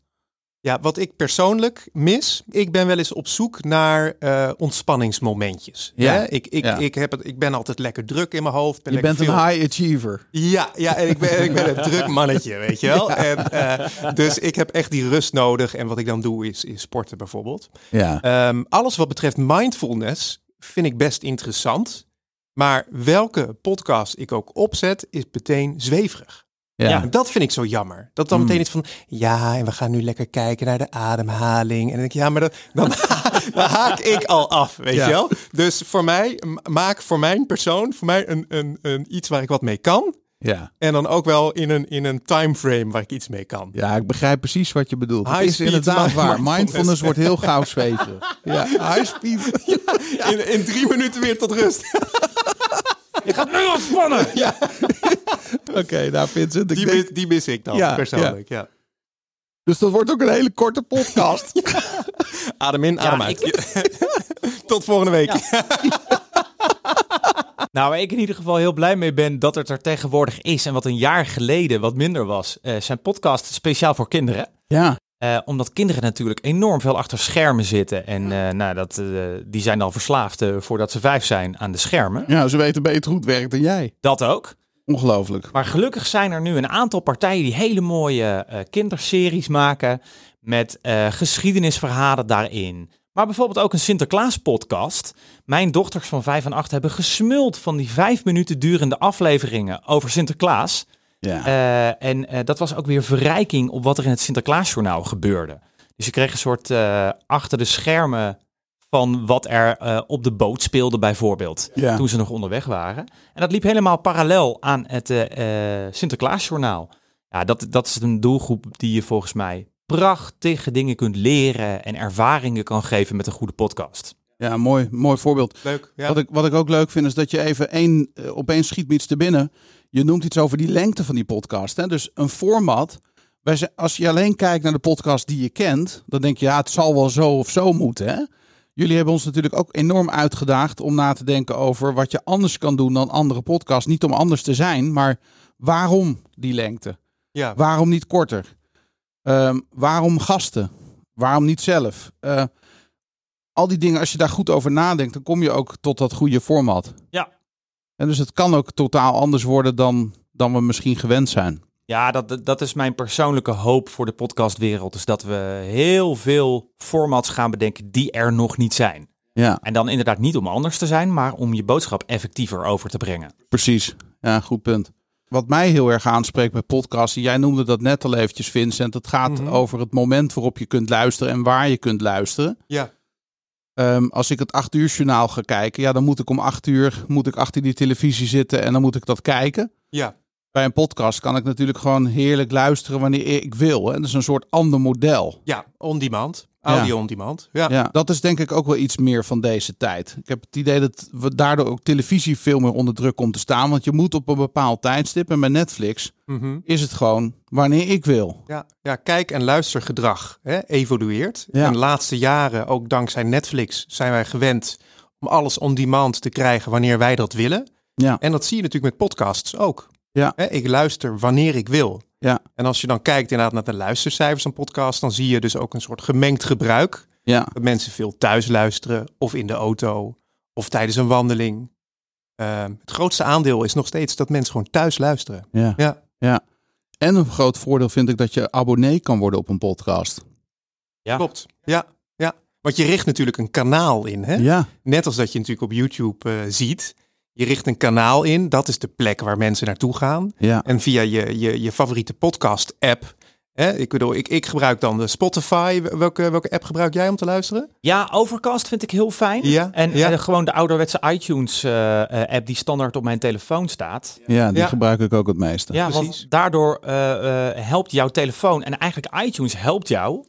Speaker 3: Ja, wat ik persoonlijk mis, ik ben wel eens op zoek naar eh, ontspanningsmomentjes.
Speaker 1: Ja.
Speaker 3: Hè? Ik, ik,
Speaker 1: Ja.
Speaker 3: Ik, heb het, ik ben altijd lekker druk in mijn hoofd. Ben
Speaker 1: je
Speaker 3: lekker
Speaker 1: bent een
Speaker 3: veel-
Speaker 1: high achiever.
Speaker 3: Ja, ja en ik ben, ik ben een druk mannetje, weet je wel. En, eh, dus ik heb echt die rust nodig. En wat ik dan doe is, is sporten bijvoorbeeld.
Speaker 1: Ja,
Speaker 3: Ehm, alles wat betreft mindfulness vind ik best interessant. Maar welke podcast ik ook opzet, is meteen zweverig.
Speaker 1: ja,
Speaker 4: Ja.
Speaker 3: En dat vind ik zo jammer. Dat dan
Speaker 1: Mm.
Speaker 3: meteen iets van, ja, en we gaan nu lekker kijken naar de ademhaling. En dan denk ik, ja, maar dat, dan, dan haak ik al af, weet
Speaker 1: Ja.
Speaker 3: je wel. Dus voor mij, m- maak voor mijn persoon, voor mij een, een, een, iets waar ik wat mee kan.
Speaker 1: ja.
Speaker 3: En dan ook wel in een, in een timeframe waar ik iets mee kan.
Speaker 1: Ja, ik begrijp precies wat je bedoelt. Het
Speaker 3: High
Speaker 1: is
Speaker 3: speed
Speaker 1: inderdaad
Speaker 3: mind-
Speaker 1: waar.
Speaker 3: mindfulness.
Speaker 1: Mindfulness wordt heel gauw zweverig. Ja, high speed.
Speaker 3: In, in drie minuten weer tot rust.
Speaker 4: Je gaat nu ontspannen!
Speaker 1: Oké, nou Vincent, ik
Speaker 3: Die,
Speaker 1: denk
Speaker 3: mis, die mis ik dan
Speaker 1: Ja,
Speaker 3: persoonlijk. Ja.
Speaker 1: Dus dat wordt ook een hele korte podcast.
Speaker 3: Adem in, adem
Speaker 4: Ja,
Speaker 3: uit. Tot volgende week.
Speaker 4: Nou, waar ik in ieder geval heel blij mee ben dat het er tegenwoordig is. En wat een jaar geleden wat minder was, eh, zijn podcast speciaal voor kinderen.
Speaker 1: Ja,
Speaker 4: Eh, omdat kinderen natuurlijk enorm veel achter schermen zitten. En eh, nou, dat, eh, die zijn al verslaafd eh, voordat ze vijf zijn aan de schermen.
Speaker 1: ja, ze weten beter hoe het werkt dan jij.
Speaker 4: Dat ook.
Speaker 1: Ongelooflijk.
Speaker 4: Maar gelukkig zijn er nu een aantal partijen die hele mooie eh, kinderseries maken. Met eh, geschiedenisverhalen daarin. Maar bijvoorbeeld ook een Sinterklaas-podcast. Mijn dochters van 5 en 8 hebben gesmuld van die vijf minuten durende afleveringen over Sinterklaas.
Speaker 1: Ja.
Speaker 4: Eh, en eh, dat was ook weer verrijking op wat er in het Sinterklaasjournaal gebeurde. Dus je kreeg een soort eh, achter de schermen van wat er eh, op de boot speelde bijvoorbeeld.
Speaker 1: Ja.
Speaker 4: Toen ze nog onderweg waren. En dat liep helemaal parallel aan het eh, eh, Sinterklaasjournaal. Ja, dat, dat is een doelgroep die je volgens mij prachtige dingen kunt leren en ervaringen kan geven met een goede podcast.
Speaker 1: ja, mooi, mooi voorbeeld.
Speaker 3: Leuk. Ja.
Speaker 1: Wat, ik, wat ik ook leuk vind is dat je even één, eh, opeens schiet me iets te binnen. Je noemt iets over die lengte van die podcast. Hè? Dus een format. Wij zijn- als je alleen kijkt naar de podcast die je kent, dan denk je ja, het zal wel zo of zo moeten. Hè? Jullie hebben ons natuurlijk ook enorm uitgedaagd om na te denken over wat je anders kan doen dan andere podcasts. Niet om anders te zijn, maar waarom die lengte?
Speaker 3: Ja.
Speaker 1: Waarom niet korter? Ehm, waarom gasten? Waarom niet zelf? Eh, al die dingen, als je daar goed over nadenkt, dan kom je ook tot dat goede format.
Speaker 4: Ja.
Speaker 1: En dus het kan ook totaal anders worden dan, dan we misschien gewend zijn.
Speaker 4: Ja, dat, dat is mijn persoonlijke hoop voor de podcastwereld. Is dat we heel veel formats gaan bedenken die er nog niet zijn.
Speaker 1: Ja,
Speaker 4: En dan inderdaad niet om anders te zijn, maar om je boodschap effectiever over te brengen.
Speaker 1: precies. Ja, goed punt. Wat mij heel erg aanspreekt bij podcasts, en jij noemde dat net al eventjes, Vincent. Het gaat
Speaker 3: Mhm.
Speaker 1: over het moment waarop je kunt luisteren en waar je kunt luisteren.
Speaker 3: ja.
Speaker 1: Ehm, als ik het acht uur journaal ga kijken, ja, dan moet ik om acht uur moet ik achter die televisie zitten en dan moet ik dat kijken.
Speaker 3: Ja.
Speaker 1: Bij een podcast kan ik natuurlijk gewoon heerlijk luisteren wanneer ik wil. Hè? Dat is een soort ander model.
Speaker 3: Ja, on demand. Audio on demand. Ja.
Speaker 1: Ja, dat is denk ik ook wel iets meer van deze tijd. Ik heb het idee dat we daardoor ook televisie veel meer onder druk komt te staan. Want je moet op een bepaald tijdstip. En bij Netflix
Speaker 3: Mhm.
Speaker 1: is het gewoon wanneer ik wil.
Speaker 3: Ja, ja, kijk- en luistergedrag hè, evolueert.
Speaker 1: Ja.
Speaker 3: En de laatste jaren, ook dankzij Netflix, zijn wij gewend om alles on demand te krijgen wanneer wij dat willen.
Speaker 1: Ja.
Speaker 3: En dat zie je natuurlijk met podcasts ook.
Speaker 1: Ja.
Speaker 3: Hè, ik luister wanneer ik wil.
Speaker 1: Ja.
Speaker 3: En als je dan kijkt inderdaad naar de luistercijfers van podcasts, dan zie je dus ook een soort gemengd gebruik.
Speaker 1: Ja,
Speaker 3: Dat mensen veel thuis luisteren, of in de auto, of tijdens een wandeling. Ehm, het grootste aandeel is nog steeds dat mensen gewoon thuis luisteren.
Speaker 1: ja.
Speaker 3: Ja.
Speaker 1: ja. En een groot voordeel vind ik dat je abonnee kan worden op een podcast.
Speaker 4: Ja.
Speaker 3: Klopt. Ja, ja. Want je richt natuurlijk een kanaal in. Hè?
Speaker 1: Ja.
Speaker 3: Net als dat je natuurlijk op YouTube eh, ziet. Je richt een kanaal in. Dat is de plek waar mensen naartoe gaan.
Speaker 1: Ja.
Speaker 3: En via je, je, je favoriete podcast-app. Hè? Ik bedoel, ik, ik gebruik dan de Spotify. Welke, welke app gebruik jij om te luisteren?
Speaker 4: Ja, Overcast vind ik heel fijn.
Speaker 3: Ja,
Speaker 4: en
Speaker 3: ja.
Speaker 4: eh, gewoon de ouderwetse iTunes-app die standaard op mijn telefoon staat.
Speaker 1: Ja, die
Speaker 3: Ja.
Speaker 1: gebruik ik ook het meeste.
Speaker 4: Ja,
Speaker 3: precies.
Speaker 4: want daardoor eh, eh, helpt jouw telefoon en eigenlijk iTunes helpt jou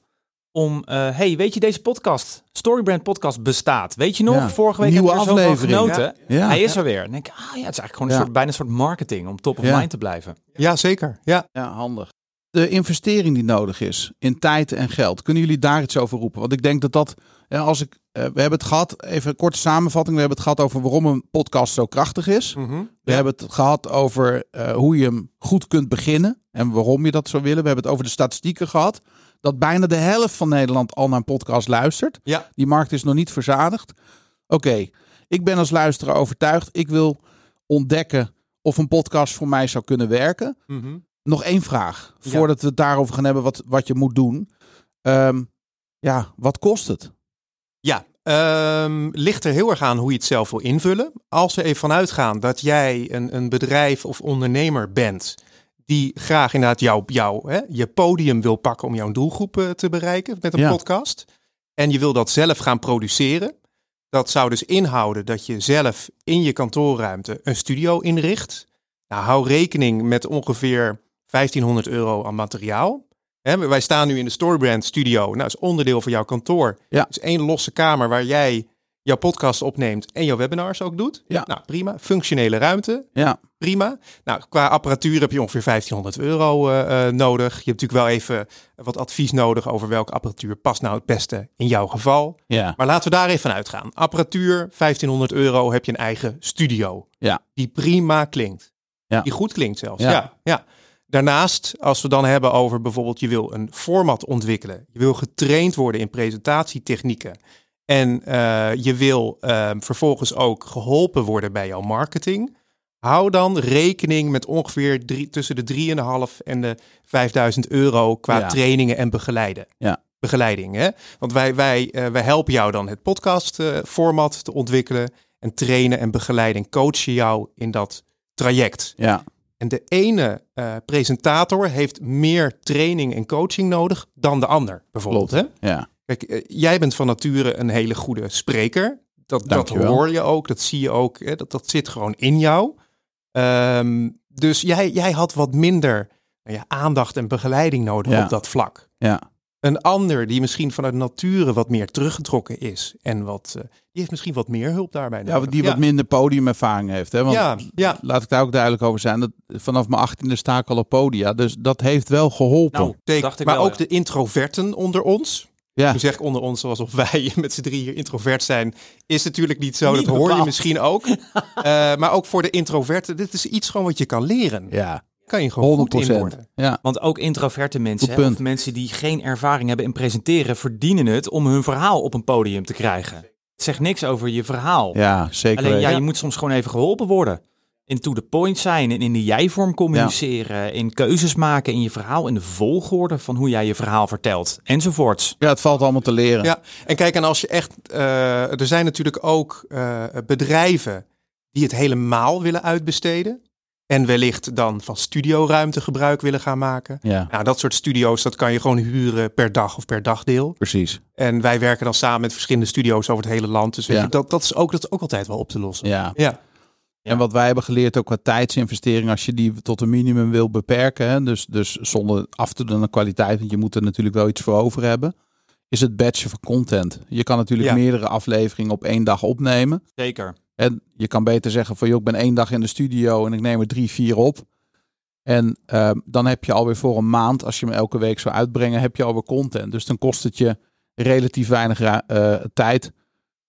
Speaker 4: om... eh, hey, weet je, deze podcast, Storybrand Podcast, bestaat. Weet je nog,
Speaker 1: Ja.
Speaker 4: vorige week
Speaker 1: Nieuwe
Speaker 4: hebben we er zoveel
Speaker 1: aflevering.
Speaker 4: genoten.
Speaker 1: Ja.
Speaker 4: Hij is er weer. En dan denk ik, ah ja, het is eigenlijk gewoon een
Speaker 1: Ja.
Speaker 4: soort, bijna een soort marketing om top of
Speaker 1: Ja.
Speaker 4: mind te blijven.
Speaker 3: Ja, zeker. Ja.
Speaker 1: Ja, handig. De investering die nodig is in tijd en geld. Kunnen jullie daar iets over roepen? Want ik denk dat dat, eh, als ik, eh, we hebben het gehad, even een korte samenvatting. We hebben het gehad over waarom een podcast zo krachtig is.
Speaker 3: Mhm.
Speaker 1: We hebben het gehad over eh, hoe je hem goed kunt beginnen en waarom je dat zou willen. We hebben het over de statistieken gehad. Dat bijna de helft van Nederland al naar een podcast luistert.
Speaker 3: Ja.
Speaker 1: Die markt is nog niet verzadigd. Oké, ik ben als luisteraar overtuigd. Ik wil ontdekken of een podcast voor mij zou kunnen werken.
Speaker 3: Mhm.
Speaker 1: Nog één vraag,
Speaker 3: Ja.
Speaker 1: voordat we het daarover gaan hebben wat, wat je moet doen. Ehm, ja, wat kost het?
Speaker 3: Ja, ehm, ligt er heel erg aan hoe je het zelf wil invullen. Als we even vanuit gaan dat jij een, een bedrijf of ondernemer bent die graag inderdaad jouw jou, hè, je podium wil pakken om jouw doelgroep eh, te bereiken met een
Speaker 1: Ja.
Speaker 3: podcast. En je wil dat zelf gaan produceren. Dat zou dus inhouden dat je zelf in je kantoorruimte een studio inricht. Nou, hou rekening met ongeveer 1500 euro aan materiaal. Hè, wij staan nu in de Storybrand studio. Nou, is onderdeel van jouw kantoor. Dus één losse kamer waar jij jouw podcast opneemt en jouw webinars ook doet.
Speaker 1: Ja.
Speaker 3: Nou, prima. Functionele ruimte.
Speaker 1: Ja,
Speaker 3: Prima. Nou, qua apparatuur heb je ongeveer 1500 euro eh, eh, nodig. Je hebt natuurlijk wel even wat advies nodig over welke apparatuur past nou het beste in jouw geval.
Speaker 1: Ja,
Speaker 3: Maar laten we daar even van uitgaan. Apparatuur, 1500 euro, heb je een eigen studio.
Speaker 1: Ja.
Speaker 3: Die prima klinkt.
Speaker 1: Ja.
Speaker 3: Die goed klinkt zelfs.
Speaker 1: Ja.
Speaker 3: Ja. Ja, Daarnaast, als we dan hebben over bijvoorbeeld, je wil een format ontwikkelen. Je wil getraind worden in presentatietechnieken. En eh, je wil eh, vervolgens ook geholpen worden bij jouw marketing. Hou dan rekening met ongeveer drie, tussen de 3.500 en de 5.000 euro qua
Speaker 1: Ja.
Speaker 3: trainingen en begeleiden.
Speaker 1: Ja.
Speaker 3: Begeleiding, hè? Want wij, wij, eh, wij helpen jou dan het podcastformat te ontwikkelen. En trainen en begeleiden, en coachen jou in dat traject.
Speaker 1: ja,
Speaker 3: En de ene eh, presentator heeft meer training en coaching nodig dan de ander, bijvoorbeeld. Hè?
Speaker 1: ja,
Speaker 3: Kijk, eh, jij bent van nature een hele goede spreker. Dat, dat
Speaker 1: Dankjewel.
Speaker 3: hoor je ook, dat zie je ook. Hè? Dat, dat zit gewoon in jou. Ehm, dus jij, jij had wat minder nou ja, aandacht en begeleiding nodig
Speaker 1: Ja.
Speaker 3: op dat vlak
Speaker 1: ja,
Speaker 3: een ander die misschien vanuit nature wat meer teruggetrokken is en wat, eh, die heeft misschien wat meer hulp daarbij
Speaker 1: ja.
Speaker 3: nodig.
Speaker 1: want Die wat minder podiumervaring heeft. Hè? Want
Speaker 3: ja, ja,
Speaker 1: laat ik daar ook duidelijk over zijn. Dat, vanaf mijn achttiende sta ik al op podia. Dus dat heeft wel geholpen.
Speaker 4: Nou,
Speaker 3: zeker.
Speaker 4: dacht ik
Speaker 3: maar
Speaker 4: wel,
Speaker 3: ook
Speaker 4: ja.
Speaker 3: de introverten onder ons.
Speaker 1: Ja.
Speaker 3: Ja. Nu zeg ik onder ons alsof wij met z'n drieën introvert zijn. Is natuurlijk niet zo,
Speaker 4: Niet
Speaker 3: dat hoor je
Speaker 4: bepaald.
Speaker 3: misschien ook. Eh, maar ook voor de introverten, dit is iets gewoon wat je kan leren.
Speaker 1: ja,
Speaker 3: Kan je gewoon
Speaker 1: 100
Speaker 3: goed in worden.
Speaker 1: Ja,
Speaker 4: Want ook introverte mensen,
Speaker 1: Goed
Speaker 4: hè,
Speaker 1: punt.
Speaker 4: of mensen die geen ervaring hebben in presenteren, verdienen het om hun verhaal op een podium te krijgen. Het zegt niks over je verhaal.
Speaker 1: ja, zeker.
Speaker 4: Alleen ja,
Speaker 1: weten.
Speaker 4: je moet soms gewoon even geholpen worden. In to the point zijn en in de jij-vorm communiceren, in keuzes maken in je verhaal, in de volgorde van hoe jij je verhaal vertelt, enzovoorts.
Speaker 1: ja, het valt allemaal te leren.
Speaker 3: Ja, en kijk, en als je echt. eh, er zijn natuurlijk ook eh, bedrijven die het helemaal willen uitbesteden. En wellicht dan van studioruimte gebruik willen gaan maken.
Speaker 1: ja
Speaker 3: Nou, dat soort studio's, dat kan je gewoon huren per dag of per dagdeel.
Speaker 1: precies.
Speaker 3: En wij werken dan samen met verschillende studio's over het hele land. Dus weet
Speaker 1: Ja.
Speaker 3: je, dat, dat, is ook, dat is ook altijd wel op te lossen.
Speaker 1: Ja.
Speaker 3: Ja.
Speaker 1: En wat wij hebben geleerd ook qua tijdsinvestering, als je die tot een minimum wil beperken, hè, dus, dus zonder af te doen aan kwaliteit, want je moet er natuurlijk wel iets voor over hebben, is het batchen van content. Je kan natuurlijk
Speaker 3: Ja.
Speaker 1: meerdere afleveringen op één dag opnemen.
Speaker 4: Zeker.
Speaker 1: En je kan beter zeggen van joh, ik ben één dag in de studio en ik neem er drie, vier op. En ehm, dan heb je alweer voor een maand, als je hem elke week zou uitbrengen, heb je alweer content. Dus dan kost het je relatief weinig ra- eh, tijd.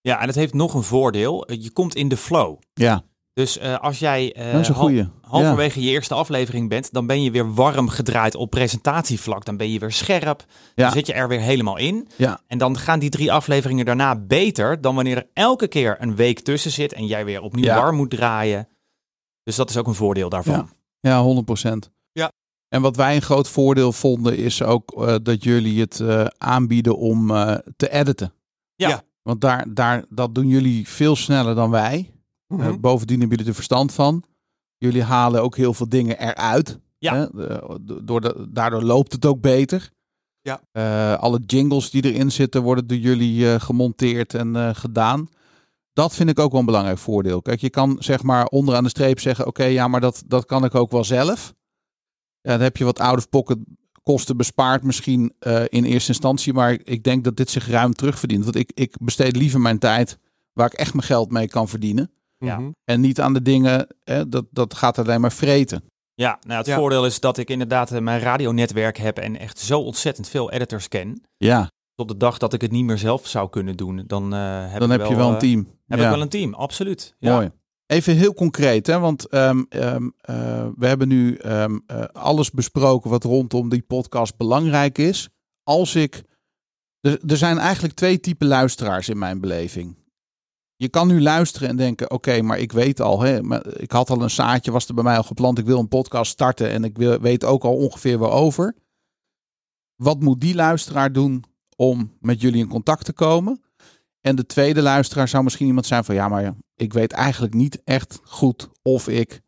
Speaker 4: Ja, en het heeft nog een voordeel. Eh, Je komt in de flow.
Speaker 1: Ja,
Speaker 4: Dus eh, als jij eh,
Speaker 1: dat is een
Speaker 4: hal-
Speaker 1: goeie. Ja.
Speaker 4: halverwege je eerste aflevering bent, dan ben je weer warm gedraaid op presentatievlak. Dan ben je weer scherp.
Speaker 1: Ja.
Speaker 4: Dan zit je er weer helemaal in.
Speaker 1: Ja.
Speaker 4: En dan gaan die drie afleveringen daarna beter dan wanneer er elke keer een week tussen zit en jij weer opnieuw
Speaker 1: Ja.
Speaker 4: warm moet draaien. Dus dat is ook een voordeel daarvan.
Speaker 1: Ja. Ja, 100 procent.
Speaker 3: Ja.
Speaker 1: En wat wij een groot voordeel vonden is ook eh, dat jullie het eh, aanbieden om eh, te editen.
Speaker 4: Ja.
Speaker 3: Ja.
Speaker 1: Want daar, daar, dat doen jullie veel sneller dan wij. Eh,
Speaker 3: Mhm.
Speaker 1: bovendien hebben jullie er verstand van. Jullie halen ook heel veel dingen eruit.
Speaker 4: Ja.
Speaker 1: Hè? Eh, do- door de- daardoor loopt het ook beter.
Speaker 3: Ja.
Speaker 1: Eh, alle jingles die erin zitten worden door jullie eh, gemonteerd en eh, gedaan. Dat vind ik ook wel een belangrijk voordeel. Kijk, je kan zeg maar onderaan de streep zeggen... oké, ja, maar dat, dat kan ik ook wel zelf. Ja, dan heb je wat out-of-pocket kosten bespaard misschien eh, in eerste instantie. Maar ik denk dat dit zich ruim terugverdient. Want ik, ik besteed liever mijn tijd waar ik echt mijn geld mee kan verdienen.
Speaker 4: Ja.
Speaker 3: Mhm.
Speaker 1: En niet aan de dingen, hè, dat, dat gaat alleen maar vreten.
Speaker 4: Ja, nou het
Speaker 3: Ja.
Speaker 4: voordeel is dat ik inderdaad eh, mijn radionetwerk heb en echt zo ontzettend veel editors ken.
Speaker 1: Ja,
Speaker 4: Tot de dag dat ik het niet meer zelf zou kunnen doen, dan eh, heb,
Speaker 1: dan
Speaker 4: ik
Speaker 1: heb je wel een
Speaker 4: eh,
Speaker 1: team.
Speaker 4: Heb
Speaker 1: ja,
Speaker 4: ik wel een team, absoluut. Ja.
Speaker 1: Mooi. Even heel concreet, hè, want ehm, ehm, eh, we hebben nu ehm, eh, alles besproken wat rondom die podcast belangrijk is. Als ik. Er, er zijn eigenlijk twee typen luisteraars in mijn beleving. Je kan nu luisteren en denken: oké, maar ik weet al, hè, maar ik had al een zaadje, was er bij mij al geplant. Ik wil een podcast starten en ik wil, weet ook al ongeveer waarover. Wat moet die luisteraar doen om met jullie in contact te komen? En de tweede luisteraar zou misschien iemand zijn van ja, maar ja, ik weet eigenlijk niet echt goed of ik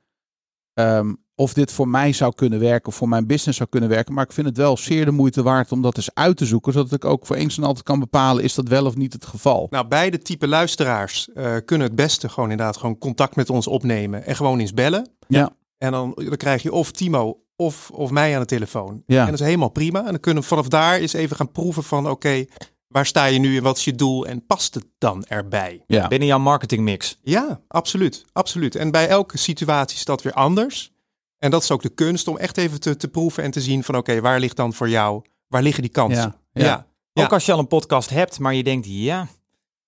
Speaker 1: ehm, of dit voor mij zou kunnen werken, of voor mijn business zou kunnen werken. Maar ik vind het wel zeer de moeite waard om dat eens uit te zoeken, zodat ik ook voor eens en altijd kan bepalen is dat wel of niet het geval.
Speaker 3: Nou, beide type luisteraars eh, kunnen het beste gewoon inderdaad gewoon contact met ons opnemen en gewoon eens bellen.
Speaker 1: Ja.
Speaker 3: En dan, dan krijg je of Timo of, of mij aan de telefoon.
Speaker 1: Ja.
Speaker 3: En dat is helemaal prima. En dan kunnen we vanaf daar eens even gaan proeven van oké, Waar sta je nu en wat is je doel en past het dan erbij?
Speaker 1: Ja.
Speaker 4: Binnen jouw marketingmix.
Speaker 3: Ja, absoluut, absoluut. En bij elke situatie is dat weer anders. En dat is ook de kunst om echt even te, te proeven en te zien van oké, waar ligt dan voor jou, waar liggen die kansen?
Speaker 1: Ja, ja.
Speaker 3: Ja.
Speaker 4: Ook als je al een podcast hebt, maar je denkt, ja,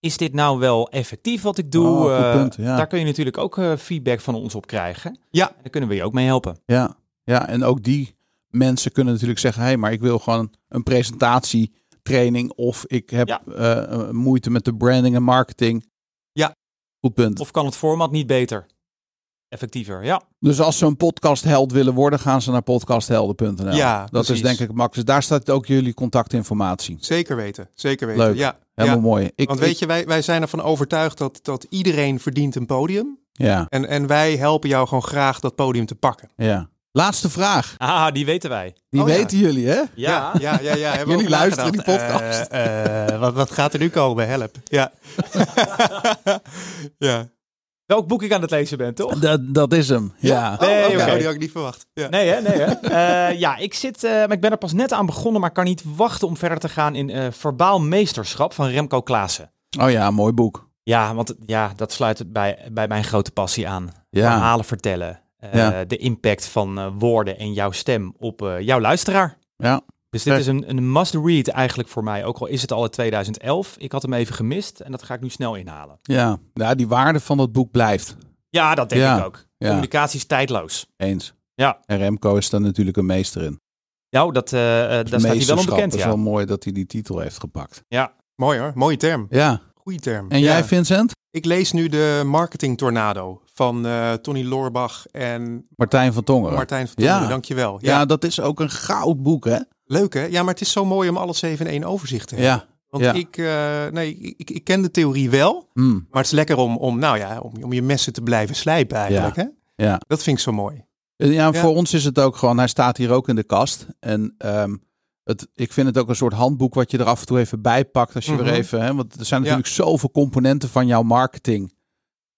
Speaker 4: is dit nou wel effectief wat ik doe?
Speaker 1: Oh, goed
Speaker 4: Eh,
Speaker 1: punt, ja.
Speaker 4: Daar kun je natuurlijk ook eh, feedback van ons op krijgen.
Speaker 3: Ja.
Speaker 4: En Daar kunnen we je ook mee helpen.
Speaker 1: Ja, ja, en ook die mensen kunnen natuurlijk zeggen: hé, hey, maar ik wil gewoon een presentatietraining. Of ik heb
Speaker 4: Ja.
Speaker 1: eh, moeite met de branding en marketing.
Speaker 3: Ja.
Speaker 1: Goed punt.
Speaker 4: Of kan het format niet beter? Effectiever, ja.
Speaker 1: Dus als ze een podcastheld willen worden, gaan ze naar podcasthelden.nl.
Speaker 3: Ja,
Speaker 1: dat is
Speaker 3: precies.
Speaker 1: denk ik makkelijk. Daar staat ook jullie contactinformatie.
Speaker 3: Zeker weten, zeker weten.
Speaker 1: Leuk.
Speaker 3: Ja,
Speaker 1: Helemaal
Speaker 3: ja.
Speaker 1: mooi. Ik,
Speaker 3: Want weet
Speaker 1: ik-
Speaker 3: je, wij, wij zijn ervan overtuigd dat, dat iedereen verdient een podium.
Speaker 1: Ja,
Speaker 3: En, en wij helpen jou gewoon graag dat podium te pakken.
Speaker 1: ja. Laatste vraag.
Speaker 4: Ah, die weten wij.
Speaker 1: Die
Speaker 3: Oh, ja.
Speaker 1: weten jullie, hè?
Speaker 4: Ja.
Speaker 3: ja, ja. ja, ja, hebben we
Speaker 1: Jullie
Speaker 3: over
Speaker 1: luisteren
Speaker 3: nagedacht.
Speaker 1: die podcast.
Speaker 3: Eh, eh, wat, wat gaat er nu komen? Help. Ja. ja.
Speaker 4: Welk boek ik aan het lezen ben, toch?
Speaker 1: Dat, dat is hem. Ja.
Speaker 3: Oh,
Speaker 4: Nee,
Speaker 3: oké.
Speaker 4: oké.
Speaker 3: Oh, die had ik niet verwacht. Ja.
Speaker 4: Nee, hè? Nee, hè? Eh, ja, ik zit, eh, maar ik ben er pas net aan begonnen, maar kan niet wachten om verder te gaan in eh Verbaal Meesterschap van Remco Klaassen.
Speaker 1: Oh ja, mooi boek.
Speaker 4: Ja, want ja, dat sluit bij, bij mijn grote passie aan.
Speaker 1: Ja,
Speaker 4: Verhalen vertellen. Eh,
Speaker 1: Ja.
Speaker 4: De impact van eh, woorden en jouw stem op eh, jouw luisteraar.
Speaker 1: ja.
Speaker 4: Dus dit
Speaker 1: Ver-
Speaker 4: is een, een must-read eigenlijk voor mij. Ook al is het al uit 2011. Ik had hem even gemist en dat ga ik nu snel inhalen.
Speaker 1: ja. ja die waarde van dat boek blijft.
Speaker 4: Ja, dat denk
Speaker 1: Ja.
Speaker 4: ik ook.
Speaker 1: Ja.
Speaker 4: Communicatie is tijdloos.
Speaker 1: Eens.
Speaker 4: Ja.
Speaker 1: En Remco is daar natuurlijk een meester in.
Speaker 4: Nou, dat, eh, eh, daar staat hij wel
Speaker 1: Meesterschap.
Speaker 4: onbekend,
Speaker 1: Dat is
Speaker 4: ja.
Speaker 1: wel mooi dat hij die titel heeft gepakt.
Speaker 3: Mooi hoor, mooie term.
Speaker 1: Ja.
Speaker 3: Goeie term.
Speaker 1: En
Speaker 3: Ja.
Speaker 1: jij, Vincent?
Speaker 3: Ik lees nu de Marketing Tornado van eh, Tony Loorbach en
Speaker 1: Martijn van Tongeren.
Speaker 3: Martijn van
Speaker 1: Ja.
Speaker 3: Tongeren. Dankjewel.
Speaker 1: ja.
Speaker 3: Ja,
Speaker 1: dat is ook een goud boek, hè?
Speaker 3: Leuk hè? Ja, maar het is zo mooi om alles even in één overzicht te hebben.
Speaker 1: Ja.
Speaker 3: Want
Speaker 1: ja.
Speaker 3: ik, eh, nee, ik, ik ken de theorie wel,
Speaker 1: Hm.
Speaker 3: maar het is lekker om, om, nou ja, om, om je messen te blijven slijpen eigenlijk. Hè?
Speaker 1: Ja.
Speaker 3: Dat vind ik zo mooi.
Speaker 1: Eh, Ja,
Speaker 3: Ja.
Speaker 1: voor ons is het ook gewoon, hij staat hier ook in de kast. En ehm, het, ik vind het ook een soort handboek wat je er af en toe even bij pakt. Als je
Speaker 3: Mhm.
Speaker 1: weer even, hè, want er zijn natuurlijk zoveel componenten van jouw marketing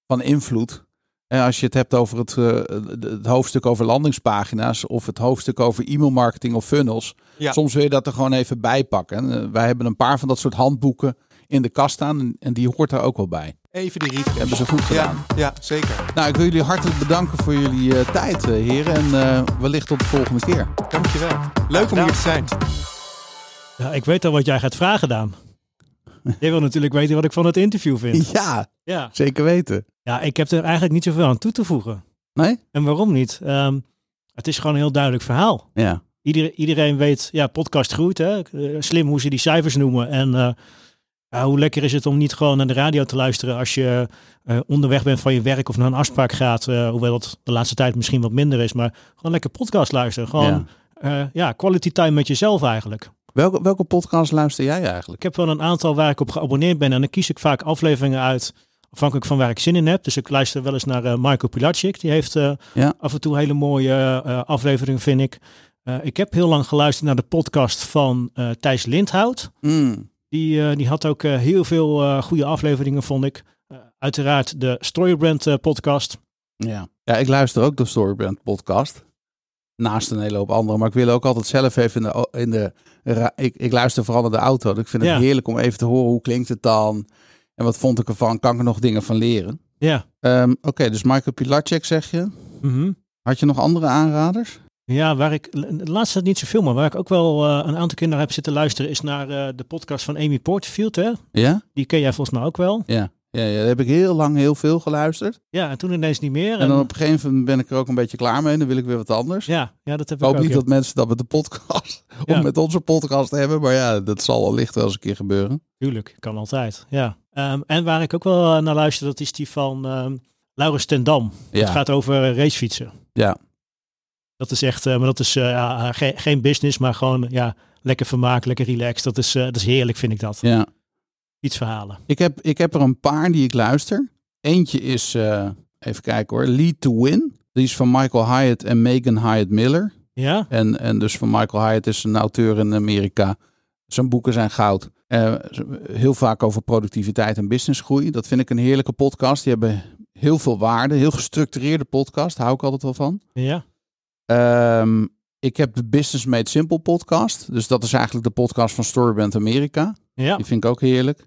Speaker 1: van invloed. En als je het hebt over het, eh, het hoofdstuk over landingspagina's of het hoofdstuk over e-mailmarketing of funnels.
Speaker 3: Ja.
Speaker 1: Soms wil je dat er gewoon even bij pakken. En, eh, wij hebben een paar van dat soort handboeken in de kast staan en, en die hoort daar ook wel bij.
Speaker 3: Even die refresh.
Speaker 1: Hebben ze goed gedaan.
Speaker 3: Ja, ja, zeker.
Speaker 1: Nou, ik wil jullie hartelijk bedanken voor jullie eh, tijd, eh, heren. En eh, wellicht tot de volgende keer.
Speaker 3: Dankjewel. Leuk om hier te zijn.
Speaker 2: Ja, ik weet al wat jij gaat vragen, Daan. Jij wil natuurlijk weten wat ik van het interview vind.
Speaker 1: Ja,
Speaker 2: Ja,
Speaker 1: zeker weten.
Speaker 2: ja ik heb er eigenlijk niet zoveel aan toe te voegen.
Speaker 1: Nee?
Speaker 2: En waarom niet? Ehm, het is gewoon een heel duidelijk verhaal.
Speaker 1: Ja.
Speaker 2: Ieder- iedereen weet, ja, podcast groeit. Hè? Eh, Slim hoe ze die cijfers noemen. En eh, ja, hoe lekker is het om niet gewoon naar de radio te luisteren als je eh, onderweg bent van je werk of naar een afspraak gaat. eh, hoewel dat de laatste tijd misschien wat minder is. Maar gewoon lekker podcast luisteren. Gewoon ja. ja, quality time met jezelf eigenlijk.
Speaker 1: Welke, welke podcast luister jij eigenlijk?
Speaker 2: Ik heb wel een aantal waar ik op geabonneerd ben. En dan kies ik vaak afleveringen uit. Afhankelijk van waar ik zin in heb. Dus ik luister wel eens naar eh, Marco Pilacic. Die heeft eh,
Speaker 1: Ja.
Speaker 2: af en toe hele mooie eh, afleveringen, vind ik. Eh, ik heb heel lang geluisterd naar de podcast van eh, Thijs Lindhout.
Speaker 1: Mm.
Speaker 2: Die, eh, die had ook eh, heel veel eh, goede afleveringen, vond ik. Eh, uiteraard de Storybrand eh, podcast.
Speaker 1: Ja. ja, ik luister ook de Storybrand podcast. Naast een hele hoop andere. Maar ik wil ook altijd zelf even in de... o- In de ra- ik, ik luister vooral naar de auto. Ik vind het
Speaker 2: Ja.
Speaker 1: heerlijk om even te horen hoe klinkt het dan. En wat vond ik ervan? Kan ik er nog dingen van leren?
Speaker 2: Ja.
Speaker 1: Ehm, Oké, dus Michael Pilacek zeg je.
Speaker 2: Mhm.
Speaker 1: Had je nog andere aanraders?
Speaker 2: Ja, waar ik de laatste tijd niet zoveel, maar waar ik ook wel eh, een aantal keer naar heb zitten luisteren, is naar eh, de podcast van Amy Porterfield. Hè?
Speaker 1: Ja?
Speaker 2: Die ken jij volgens mij ook wel.
Speaker 1: Ja. Ja, ja, daar heb ik heel lang heel veel geluisterd.
Speaker 2: Ja, en toen ineens niet meer.
Speaker 1: En dan op een gegeven moment ben ik er ook een beetje klaar mee. En dan wil ik weer wat anders.
Speaker 2: ja, ja, dat heb
Speaker 1: ik
Speaker 2: ik ook.
Speaker 1: hoop niet
Speaker 2: ja.
Speaker 1: dat mensen dat met de podcast
Speaker 2: Ja.
Speaker 1: of met onze podcast hebben. Maar ja, dat zal wellicht wel eens een keer gebeuren.
Speaker 2: Tuurlijk, kan altijd. Ja. Ehm, en waar ik ook wel eh, naar luister, dat is die van ehm Laurens ten Dam. Het
Speaker 1: Ja,
Speaker 2: gaat over eh, racefietsen.
Speaker 1: Ja.
Speaker 2: Dat is echt, eh, maar dat is eh, ja, ge- geen business, maar gewoon ja, lekker vermaak, lekker relaxed. Dat is, eh, dat is heerlijk, vind ik dat.
Speaker 1: ja.
Speaker 2: Iets verhalen.
Speaker 1: Ik, heb, ik heb er een paar die ik luister. Eentje is, eh, even kijken hoor, Lead to Win. Die is van Michael Hyatt en Megan Hyatt Miller.
Speaker 2: Ja?
Speaker 1: En, en dus van Michael Hyatt is een auteur in Amerika. Zijn boeken zijn goud. Eh, heel vaak over productiviteit en businessgroei. Dat vind ik een heerlijke podcast. Die hebben heel veel waarde. Heel gestructureerde podcast. Hou ik altijd wel van.
Speaker 2: Ja?
Speaker 1: Ehm, ik heb de Business Made Simple podcast. Dus dat is eigenlijk de podcast van Storyband Amerika.
Speaker 2: Ja.
Speaker 1: Die vind ik ook heerlijk.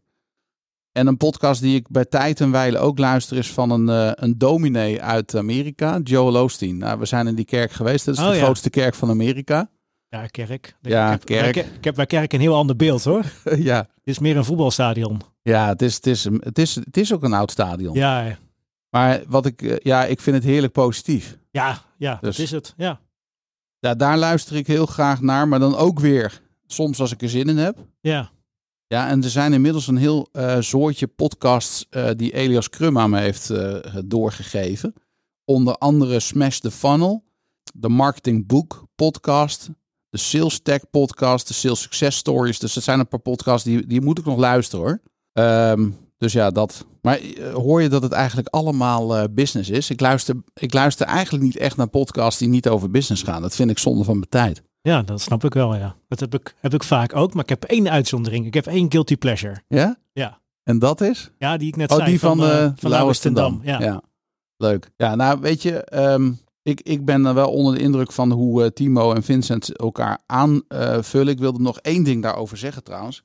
Speaker 1: En een podcast die ik bij tijd en wijle ook luister is van een, eh, een dominee uit Amerika, Joel Osteen. Nou, we zijn in die kerk geweest. Dat is
Speaker 2: Oh,
Speaker 1: de
Speaker 2: ja.
Speaker 1: grootste kerk van Amerika.
Speaker 2: ja, kerk.
Speaker 1: Ja,
Speaker 2: ik heb, bij
Speaker 1: kerk.
Speaker 2: Ke- Ik heb bij kerk een heel ander beeld hoor.
Speaker 1: ja,
Speaker 2: Dit is meer een voetbalstadion.
Speaker 1: ja het, is, het, is, een- het, is, het is ook een oud stadion.
Speaker 2: Ja,
Speaker 1: Maar wat ik, eh, ja, ik vind het heerlijk positief.
Speaker 2: ja, ja
Speaker 1: Dus-
Speaker 2: dat is het. Ja,
Speaker 1: Ja, daar luister ik heel graag naar, maar dan ook weer soms als ik er zin in heb.
Speaker 2: ja.
Speaker 1: Ja, en er zijn inmiddels een heel eh soortje podcasts eh, die Elias Krum aan me heeft eh, doorgegeven. Onder andere Smash the Funnel, de Marketing Book podcast, de Sales Tech podcast, de Sales Success Stories. Dus dat zijn een paar podcasts die, die moet ik nog luisteren hoor. Ehm, dus ja, dat. Maar eh, hoor je dat het eigenlijk allemaal eh, business is? Ik luister, ik luister eigenlijk niet echt naar podcasts die niet over business gaan. Dat vind ik zonde van mijn tijd.
Speaker 2: ja, dat snap ik wel. Ja. Dat heb ik, heb ik vaak ook, maar ik heb één uitzondering. Ik heb één guilty pleasure.
Speaker 1: Ja?
Speaker 2: Ja.
Speaker 1: En dat is?
Speaker 2: Ja, die ik net
Speaker 1: Oh,
Speaker 2: zei.
Speaker 1: die van,
Speaker 2: eh,
Speaker 1: eh,
Speaker 2: van
Speaker 1: Lauwers ten
Speaker 2: Dam.
Speaker 1: Dam.
Speaker 2: Ja.
Speaker 1: Leuk. Ja, nou weet je, ehm, ik, ik ben dan wel onder de indruk van hoe eh, Timo en Vincent elkaar aanvullen. ik wilde nog één ding daarover zeggen trouwens.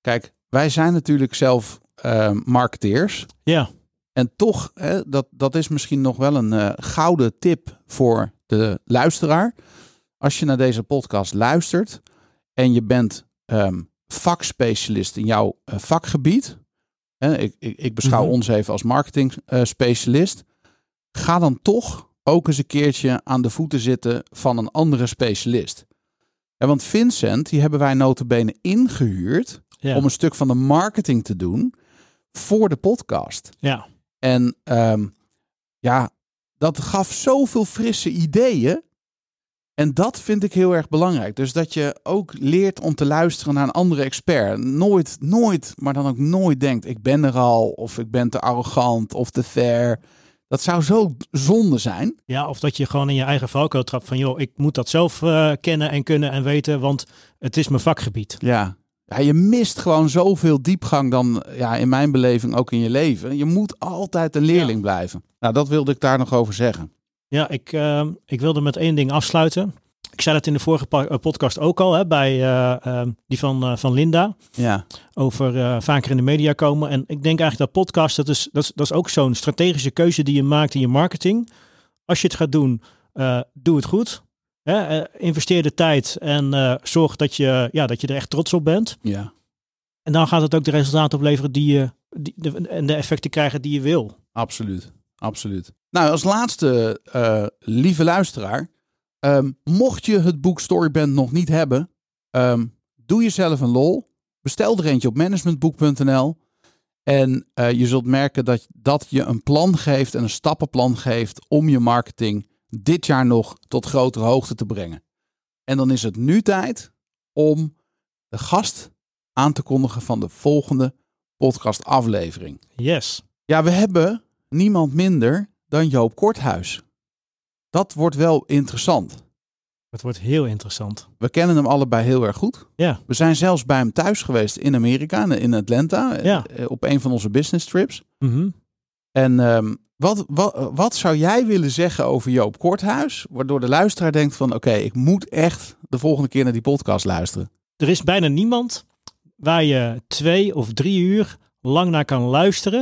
Speaker 1: Kijk, wij zijn natuurlijk zelf ehm, marketeers.
Speaker 2: Ja.
Speaker 1: En toch, hè, dat, dat is misschien nog wel een eh, gouden tip voor de luisteraar. Als je naar deze podcast luistert en je bent ehm, vakspecialist in jouw eh, vakgebied. Hè, ik, ik, ik beschouw
Speaker 2: Mhm.
Speaker 1: ons even als marketingspecialist. ga dan toch ook eens een keertje aan de voeten zitten van een andere specialist. Ja, want Vincent, die hebben wij notabene ingehuurd
Speaker 2: Ja.
Speaker 1: om een stuk van de marketing te doen voor de podcast.
Speaker 2: ja.
Speaker 1: En ehm, ja, dat gaf zoveel frisse ideeën. En dat vind ik heel erg belangrijk. Dus dat je ook leert om te luisteren naar een andere expert. Nooit, nooit, maar dan ook nooit denkt: ik ben er al, of ik ben te arrogant of te ver. Dat zou zo zonde zijn.
Speaker 2: Ja, of dat je gewoon in je eigen valkuil trapt van, joh, ik moet dat zelf eh, kennen en kunnen en weten, want het is mijn vakgebied.
Speaker 1: Ja. ja. Je mist gewoon zoveel diepgang dan, ja, in mijn beleving, ook in je leven. Je moet altijd een leerling blijven. Nou, dat wilde ik daar nog over zeggen.
Speaker 2: Ja, ik, ehm, ik wilde met één ding afsluiten. Ik zei dat in de vorige pa- eh, podcast ook al, hè, bij eh, ehm, die van, eh, van Linda,
Speaker 1: Ja,
Speaker 2: over eh, vaker in de media komen. En ik denk eigenlijk dat podcast, dat is, dat is, dat is ook zo'n strategische keuze die je maakt in je marketing. Als je het gaat doen, eh, doe het goed. Hè, eh, investeer de tijd en eh, zorg dat je, ja, dat je er echt trots op bent.
Speaker 1: ja.
Speaker 2: En dan gaat het ook de resultaten opleveren die je die, de, en de effecten krijgen die je wil.
Speaker 1: Absoluut, absoluut. Nou, als laatste, eh, lieve luisteraar. ehm, mocht je het boek Storyband nog niet hebben, ehm, doe jezelf een lol. Bestel er eentje op managementboek.nl. En eh, je zult merken dat dat je een plan geeft en een stappenplan geeft om je marketing dit jaar nog tot grotere hoogte te brengen. En dan is het nu tijd om de gast aan te kondigen van de volgende podcastaflevering.
Speaker 2: Yes.
Speaker 1: Ja, we hebben niemand minder dan Joop Korthuis. Dat wordt wel interessant.
Speaker 2: Het wordt heel interessant.
Speaker 1: We kennen hem allebei heel erg goed.
Speaker 2: Ja.
Speaker 1: We zijn zelfs bij hem thuis geweest in Amerika, in Atlanta,
Speaker 2: Ja.
Speaker 1: eh, op een van onze business trips.
Speaker 2: Mhm.
Speaker 1: En ehm, wat, wat, wat zou jij willen zeggen over Joop Korthuis, waardoor de luisteraar denkt van oké, ik moet echt de volgende keer naar die podcast luisteren.
Speaker 2: Er is bijna niemand waar je twee of drie uur lang naar kan luisteren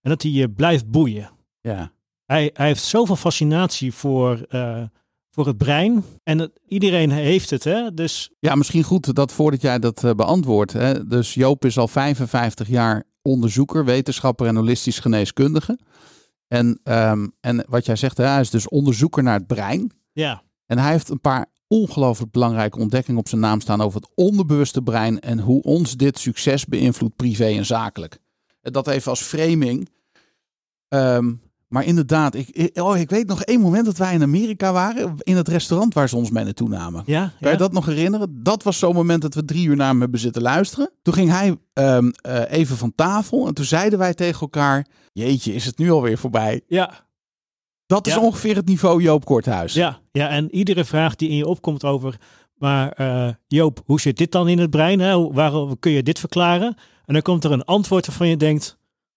Speaker 2: en dat hij je blijft boeien.
Speaker 1: Ja,
Speaker 2: Hij, hij heeft zoveel fascinatie voor, eh, voor het brein. En het- iedereen heeft het, hè? Dus
Speaker 1: ja misschien goed dat voordat jij dat eh, beantwoordt. Hè, dus Joop is al 55 jaar onderzoeker, wetenschapper en holistisch geneeskundige. En, ehm, en wat jij zegt, hè, hij is dus onderzoeker naar het brein.
Speaker 2: ja,
Speaker 1: En hij heeft een paar ongelooflijk belangrijke ontdekkingen op zijn naam staan over het onderbewuste brein en hoe ons dit succes beïnvloedt privé en zakelijk. En Dat even als framing. Ehm, maar inderdaad, ik, ik- oh, ik weet nog één moment dat wij in Amerika waren, in het restaurant waar ze ons mee naartoe namen.
Speaker 2: ja,
Speaker 1: Kan
Speaker 2: ja.
Speaker 1: je dat nog herinneren? Dat was zo'n moment dat we drie uur naar hem hebben zitten luisteren. Toen ging hij ehm, eh, even van tafel en toen zeiden wij tegen elkaar... Jeetje, is het nu alweer voorbij?
Speaker 2: ja,
Speaker 1: Dat is
Speaker 2: Ja.
Speaker 1: ongeveer het niveau Joop Korthuis.
Speaker 2: ja, ja. En iedere vraag die in je opkomt over, maar eh, Joop, hoe zit dit dan in het brein? Hè? Hoe- Waarom kun je dit verklaren? En dan komt er een antwoord waarvan je denkt,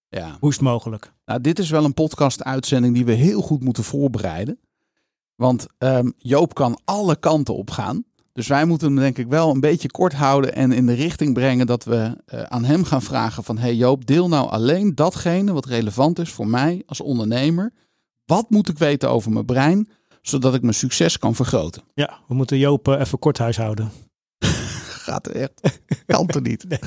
Speaker 1: Ja.
Speaker 2: Hoe is het mogelijk?
Speaker 1: Nou, dit is wel een podcast-uitzending die we heel goed moeten voorbereiden. Want ehm, Joop kan alle kanten op gaan. Dus wij moeten hem denk ik wel een beetje kort houden en in de richting brengen dat we eh, aan hem gaan vragen van... hey Joop, deel nou alleen datgene wat relevant is voor mij als ondernemer. Wat moet ik weten over mijn brein, zodat ik mijn succes kan vergroten?
Speaker 2: Ja, we moeten Joop eh, even kort huishouden.
Speaker 1: Gaat er echt. Kan er niet.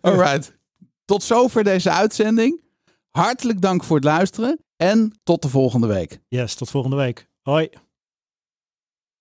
Speaker 1: Alright. Tot zover deze uitzending. Hartelijk dank voor het luisteren en tot de volgende week.
Speaker 2: Yes, tot volgende week. Hoi.